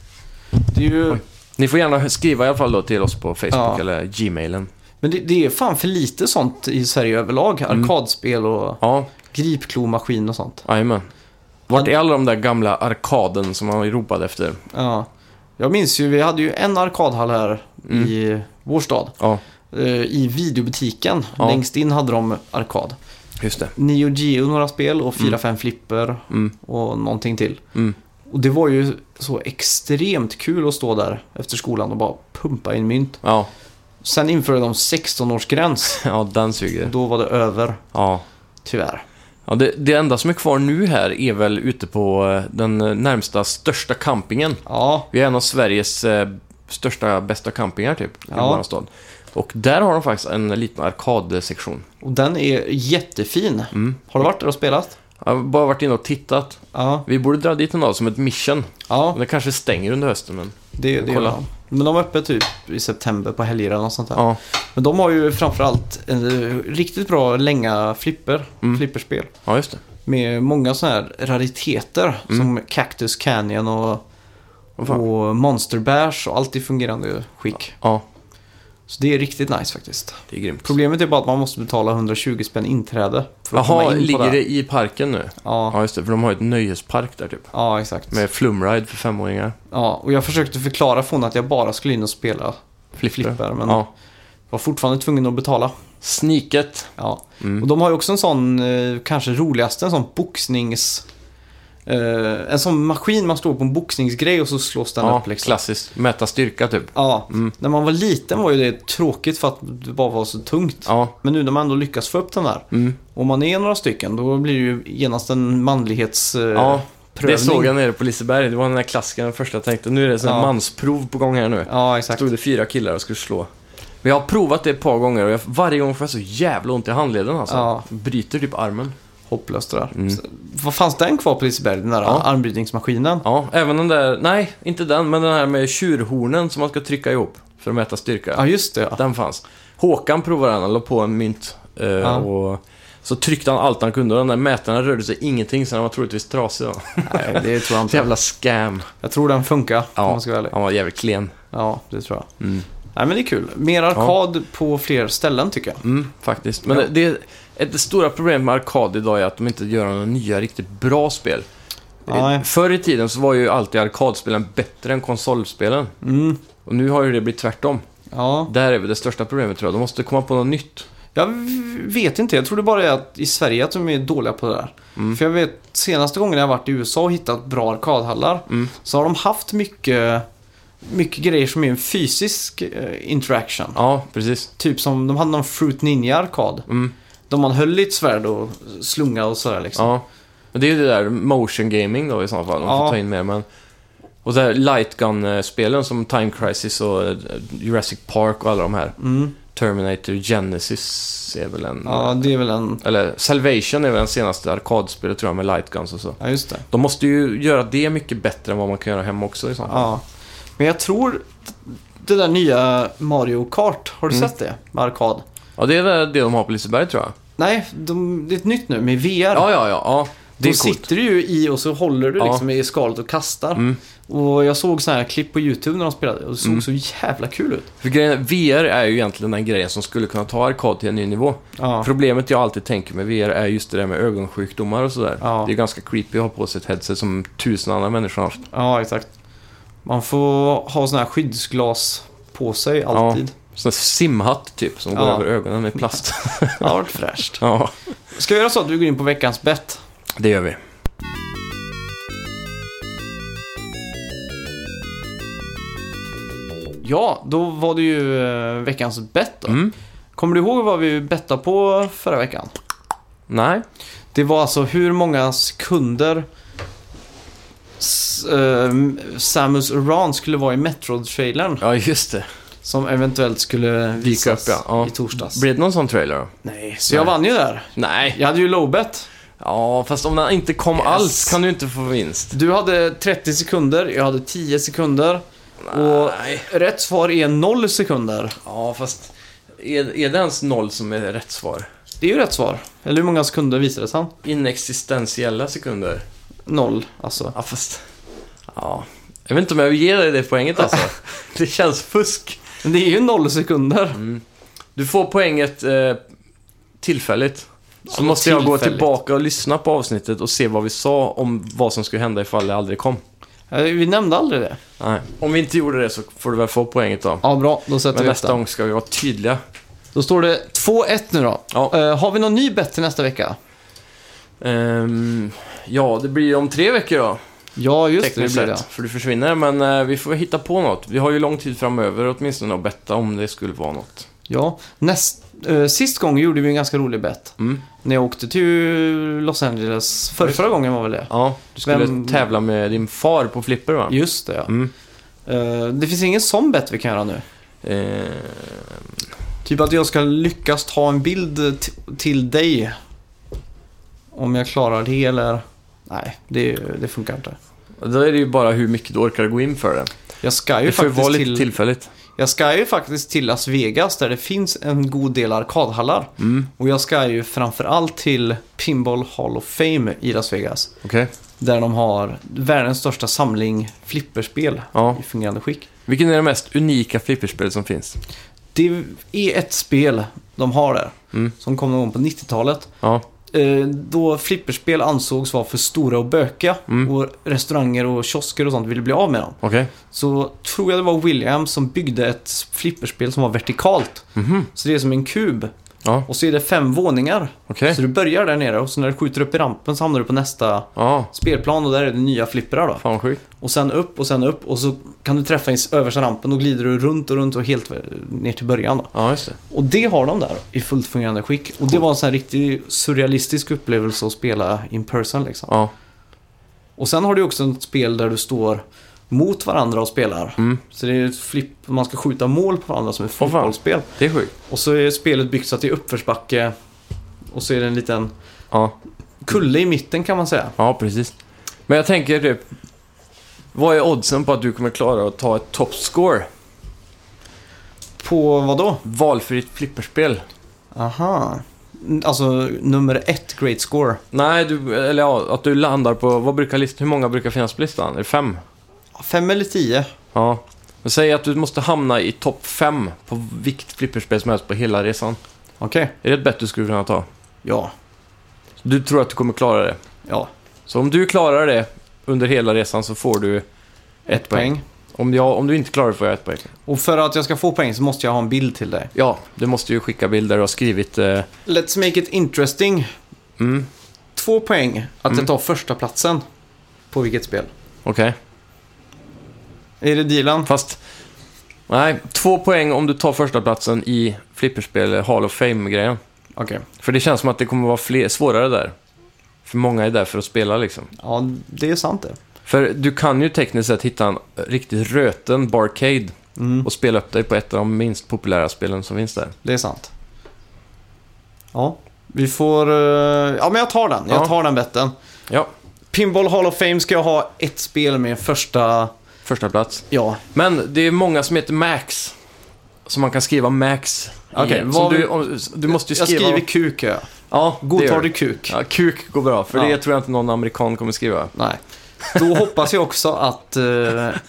Det är ju... Ni får gärna skriva i alla fall då till oss på Facebook Ja. eller Gmailen. Men det, det är fan för lite sånt i Sverige överlag. Mm. Arkadspel och Ja, gripklomaskin och sånt. jajamän. Vart är alla de där gamla arkaden som man ropade efter? Ja. Jag minns ju, vi hade ju en arkadhall här Mm. i vår stad. Ja, Eh, I videobutiken, Ja. längst in hade de arkad. just det. Neo Geo några spel och 4-5 flipper Mm. och någonting till. Mm. Och det var ju så extremt kul att stå där efter skolan och bara pumpa in mynt. Ja, Sen införde de 16-årsgräns. ja den suger. Då var det över, Ja. tyvärr. Ja, det, det enda som är kvar nu här är väl ute på eh, den eh, närmsta största campingen. Ja, Vi är en av Sveriges eh, största, bästa campingar typ, i Ja. vår stad. Och där har de faktiskt en liten arkadsektion. Mm. och den är jättefin. Har du varit där och spelat? Jag har bara varit inne och tittat. Ja, Vi borde dra dit en dag som ett mission. ja Det kanske stänger under hösten, men... det, det gör Kolla. de. Men de är öppet typ i september på helger eller något sånt där. Ja. Men de har ju framförallt eh, riktigt bra länga flipper, Mm. flipperspel. ja, just det. Med många sådana här rariteter Mm. som Cactus Canyon och, Vad fan. och Monster Bash och allt i fungerande skick. Ja, Så det är riktigt nice faktiskt. det är grymt. Problemet är bara att man måste betala 120 spänn inträde. För att komma Jaha, in på ligger det? det i parken nu? Ja, Ja, just det. För de har ju ett nöjespark där typ. ja exakt. Med flumride för femåringar. Ja, och jag försökte förklara för hon att jag bara skulle in och spela flipper. Men Ja. var fortfarande tvungen att betala. Sneaket. Ja. Mm. Och de har ju också en sån, eh, kanske roligaste, en sån boxnings... Eh, en sån maskin man står på en boxningsgrej och så slås den Ja, upp liksom. klassiskt. Mäta styrka typ. Ja, Mm. när man var liten var ju det tråkigt för att det bara var så tungt. Ja. Men nu när man ändå lyckas få upp den där, Mm. och man är några stycken, då blir det ju genast en eh, manlighetsprövning. Ja, det såg jag nere på Liseberg. Det var den där klassiken, den första jag tänkte. Nu är det sån här Ja. mansprov på gång här nu. Ja, exakt. Stod det fyra killar och skulle slå. Men jag har provat det ett par gånger och jag, varje gång får jag så jävla ont i handleden alltså. Ja. Bryter typ armen. Hopplöst det där. Mm. Så, vad fanns den kvar på Liseberg, den där Ja. armbrytningsmaskinen? Ja, även den där, nej, inte den, men den här med tjurhornen som man ska trycka ihop för att mäta styrka. Ja, just det. Ja. Den fanns. Håkan provade den, han la på en mynt. Eh, Ja. och så tryckte han allt han kunde och den där mätaren rörde sig ingenting så den var troligtvis trasig. Då. Nej, det tror jag Så inte. jävla scam. Jag tror den funkar, om Ja, man ska vara ärlig. han var jävligt klen. Ja, det tror jag. Mm. Nej, men det är kul. Mer arkad på fler ställen tycker jag. Mm, faktiskt. Men Ja. det, det, ett, det stora problemet med arkad idag är att de inte gör några nya riktigt bra spel. Nej. Eh, Förr i tiden så var ju alltid arkadspelen bättre än konsolspelen. Mm. Och nu har ju det blivit tvärtom. Ja, Där är väl det största problemet tror jag. De måste komma på något nytt. jag v- vet inte. Jag tror det bara är att i Sverige att de är dåliga på det där. Mm. För jag vet senaste gången jag har varit i USA och hittat bra arkadhallar Mm. så har de haft mycket, mycket grejer som är en fysisk eh, interaction. Ja, precis. Typ som de hade någon Fruit Ninja-arkad. Mm. Där man höll i ett svärd och slunga och sådär liksom. Ja. Men det är ju det där motion gaming då i så fall. De Ja. får ta in mer. Men... Och så här light gun-spelen som Time Crisis och eh, Jurassic Park och alla de här. Mm. Terminator Genesis är väl en... ja, det är väl en... Eller Salvation är väl den senaste arkadspelet tror jag med light guns och så. Ja, just det. De måste ju göra det mycket bättre än vad man kan göra hemma också i så fall. Ja. Men jag tror det där nya Mario Kart, har du Mm. sett det? Med arkad. Ja, det är det det de har på Liseberg tror jag. Nej, de, det är ett nytt nu med VR. Ja, ja, ja. ja. Det Då är coolt. sitter du ju i och så håller du Ja. liksom i skalet och kastar. Mm. Och jag såg sådana här klipp på YouTube när de spelade och det såg så jävla kul ut. För grejen, är- VR är ju egentligen den grejen som skulle kunna ta arkad till en ny nivå. Ja. Problemet jag alltid tänker med VR är just det där med ögonsjukdomar och sådär. Ja. Det är ganska creepy att ha på sig ett headset som tusen andra människor har haft. ja, exakt. Man får ha sådana här skyddsglas på sig alltid. Sån här simhatt typ som går Ja. över ögonen med plast. Ja, det har varit fräscht. ja, Ska vi göra så att du går in på veckans bett? det gör vi. Ja, då var det ju eh, veckans bett då. Mm. Kommer du ihåg vad vi bettade på förra veckan? Nej. Det var alltså hur många sekunder S- eh, Samus Aran skulle vara i Metroid-trailern Ja, just det. som eventuellt skulle visas upp, ja. Ja. i torsdags. Blir det någon sån trailer då? Nej, så jag vann ju där. Nej. Jag hade ju lowbet. Ja, fast om den inte kom Yes. alls kan du inte få vinst. Du hade 30 sekunder, jag hade 10 sekunder. Och rätt svar är 0 sekunder. Ja, fast är, är det ens noll som är rätt svar? Det är ju rätt svar. Eller hur många sekunder visades han? Inexistentiella sekunder? 0, alltså. Ja, fast... Ja. Jag vet inte om jag vill ge dig det poänget alltså. det känns fusk. Men det är ju 0 sekunder. Du får poänget eh, tillfälligt. Så måste jag gå tillfälligt. tillbaka och lyssna på avsnittet och se vad vi sa om vad som skulle hända ifall det aldrig kom. Eh, Vi nämnde aldrig det. Nej. Om vi inte gjorde det så får du väl få poänget då. Ja, bra. Då sätter Men vi nästa detta. gång ska vi vara tydliga. Då står det 2-1 nu då. Ja. Eh, har vi någon ny bett till nästa vecka? Ehm, ja, det blir om tre veckor då. Ja, just det. det tekniskt blir sett. det. För du försvinner, men eh, vi får hitta på något. Vi har ju lång tid framöver åtminstone att betta om det skulle vara något. Ja. Näst, eh, sist gång gjorde vi en ganska rolig bett. Mm. När jag åkte till Los Angeles. Förra, förra gången var väl det? Ja, du skulle Vem- tävla med din far på flipper va? Just det, ja. Mm. Eh, det finns ingen sån bett vi kan göra nu. Eh, Typ att jag ska lyckas ta en bild t- till dig. om jag klarar det eller... Nej, det, det funkar inte. Och Då är det ju bara hur mycket du orkar gå in för det. Jag ska ju Det får ju faktiskt vara lite till... tillfälligt. Jag ska ju faktiskt till Las Vegas där det finns en god del arkadhallar. Mm. Och jag ska ju framförallt till Pinball Hall of Fame i Las Vegas. Okej. Där de har världens största samling flipperspel Ja. i fungerande skick. Vilken är det mest unika flipperspel som finns? Det är ett spel de har där. Mm. Som kom någon gång på 90-talet. Ja. Eh, Då flipperspel ansågs vara för stora och böka. Mm. Och restauranger och kiosker och sånt ville bli av med dem. Okej. Så tror jag det var Williams som byggde ett flipperspel som var vertikalt. Mhm. Så det är som en kub. Ja. Och så är det fem våningar. Okej. Så du börjar där nere och så när du skjuter upp i rampen så hamnar du på nästa Ja. spelplan och där är det nya flipprar då. Fan vad sjukt. Och sen upp och sen upp och så kan du träffa i översta rampen och glider du runt och runt och helt eh, ner till början då. Ja, just det. Och det har de där i fullt fungerande skick. Och det var en sån här riktig surrealistisk upplevelse att spela in person liksom. Ja. Och sen har du också ett spel där du står mot varandra och spelar. Mm. Så det är ett flipp, man ska skjuta mål på varandra som ett fan. fotbollsspel. Det är sjukt. Och så är spelet byggt så att det är uppförsbacke och så är det en liten Ja. kulle i mitten kan man säga. Ja, precis. Men jag tänker typ... Vad är oddsen på att du kommer klara att ta ett toppscore? På vad då? Valfritt flipperspel? Aha. N- Alltså nummer ett, great score. Nej, du, eller ja, att du landar på... Vad brukar listan, hur många brukar finnas på listan? Är det fem? Fem eller tio? Ja. Men säg att du måste hamna i topp fem på vilket flipperspel som helst på hela resan. Okej. Är det ett bett du skulle kunna ta? Ja. Du tror att du kommer klara det. Ja. Så om du klarar det under hela resan så får du ett, poäng. Om, jag, om du inte klarar det får jag ett poäng. Och för att jag ska få poäng så måste jag ha en bild till dig. Ja, du måste ju skicka bilder och ha skrivit... Eh, Let's make it interesting. mm, Två poäng att Mm. jag tar första platsen På vilket spel? okej. Är det dealen? Fast... Nej, två poäng om du tar första platsen i flipperspel Hall of Fame-grejen. Okej. För det känns som att det kommer vara fler, svårare där. För många är där för att spela liksom. Ja, det är sant det. För du kan ju tekniskt sett hitta en riktigt röten barcade Mm. och spela upp dig på ett av de minst populära spelen som finns där. Det är sant. Ja, vi får... eh, Ja, men jag tar den. Ja. Jag tar den betten. Ja, Pinball Hall of Fame ska jag ha ett spel med första... första plats. Ja, Men det är många som heter Max. Som man kan skriva Max i. Okej, Som vad- du, om, du måste ju jag skriva... skriver kuk. Ja. Ja, det gör Godtar du. du kuk? Ja, kuk går bra, för Ja. det tror jag inte någon amerikan kommer skriva. Nej. Då hoppas jag också att eh,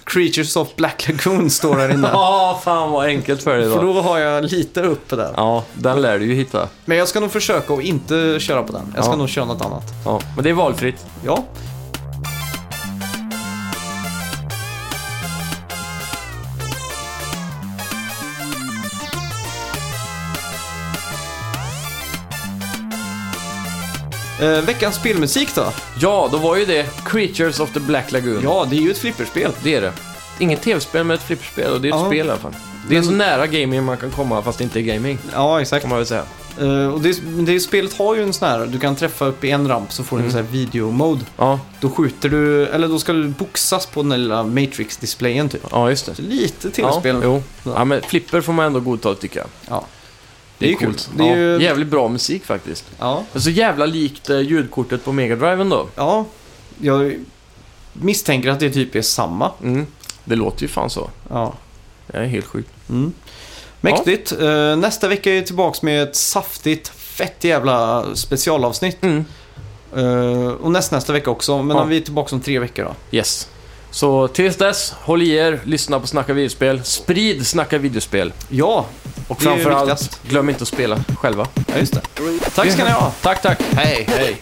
Creatures of Black Lagoon står där inne. Ja, fan vad enkelt för dig För då. då har jag lite uppe där. Ja, den lär du ju hitta. Men jag ska nog försöka att inte köra på den. Jag ska Ja. nog köra något annat. Ja, men det är valfritt. Ja. Eh, veckans spelmusik då? Ja, då var ju det Creatures of the Black Lagoon. Ja, det är ju ett flipperspel. Det är det. Inget tv-spel, men ett flipperspel. Och det är ett Ja. spel i alla fall. Det är så nära gaming man kan komma, fast det inte är gaming. Ja, exakt. Kan man väl säga. Eh, och det, det spelet har ju en sån här, du kan träffa upp i en ramp så får du en sån här videomode. Ja, Då skjuter du, eller då ska du boxas på den där lilla Matrix-displayen typ. ja just det. Så lite Ja, tv-spel. jo. Ja, men flipper får man ändå godta tycker jag. Ja. Det är, Det är coolt. kul. Det är ja, ju- Jävligt bra musik faktiskt. ja. Men så jävla likt eh, ljudkortet på megadriven då. Ja, jag misstänker att det typ är samma. Mm. Det låter ju fan så. Ja. Det är helt sjukt. Mm. Mäktigt. Eh, nästa vecka är jag tillbaka med ett saftigt, fett jävla specialavsnitt. Mm. Eh, och näst, nästa vecka också, men Ja. vi är tillbaka om tre veckor då. Yes. Så tills dess, håll i er, lyssna på Snacka videospel, sprid Snacka videospel Ja, och Det är ju framförallt, viktigast. glöm inte att spela själva. ja just det. Tack ska ni ha. Tack, tack. Hej. Hej.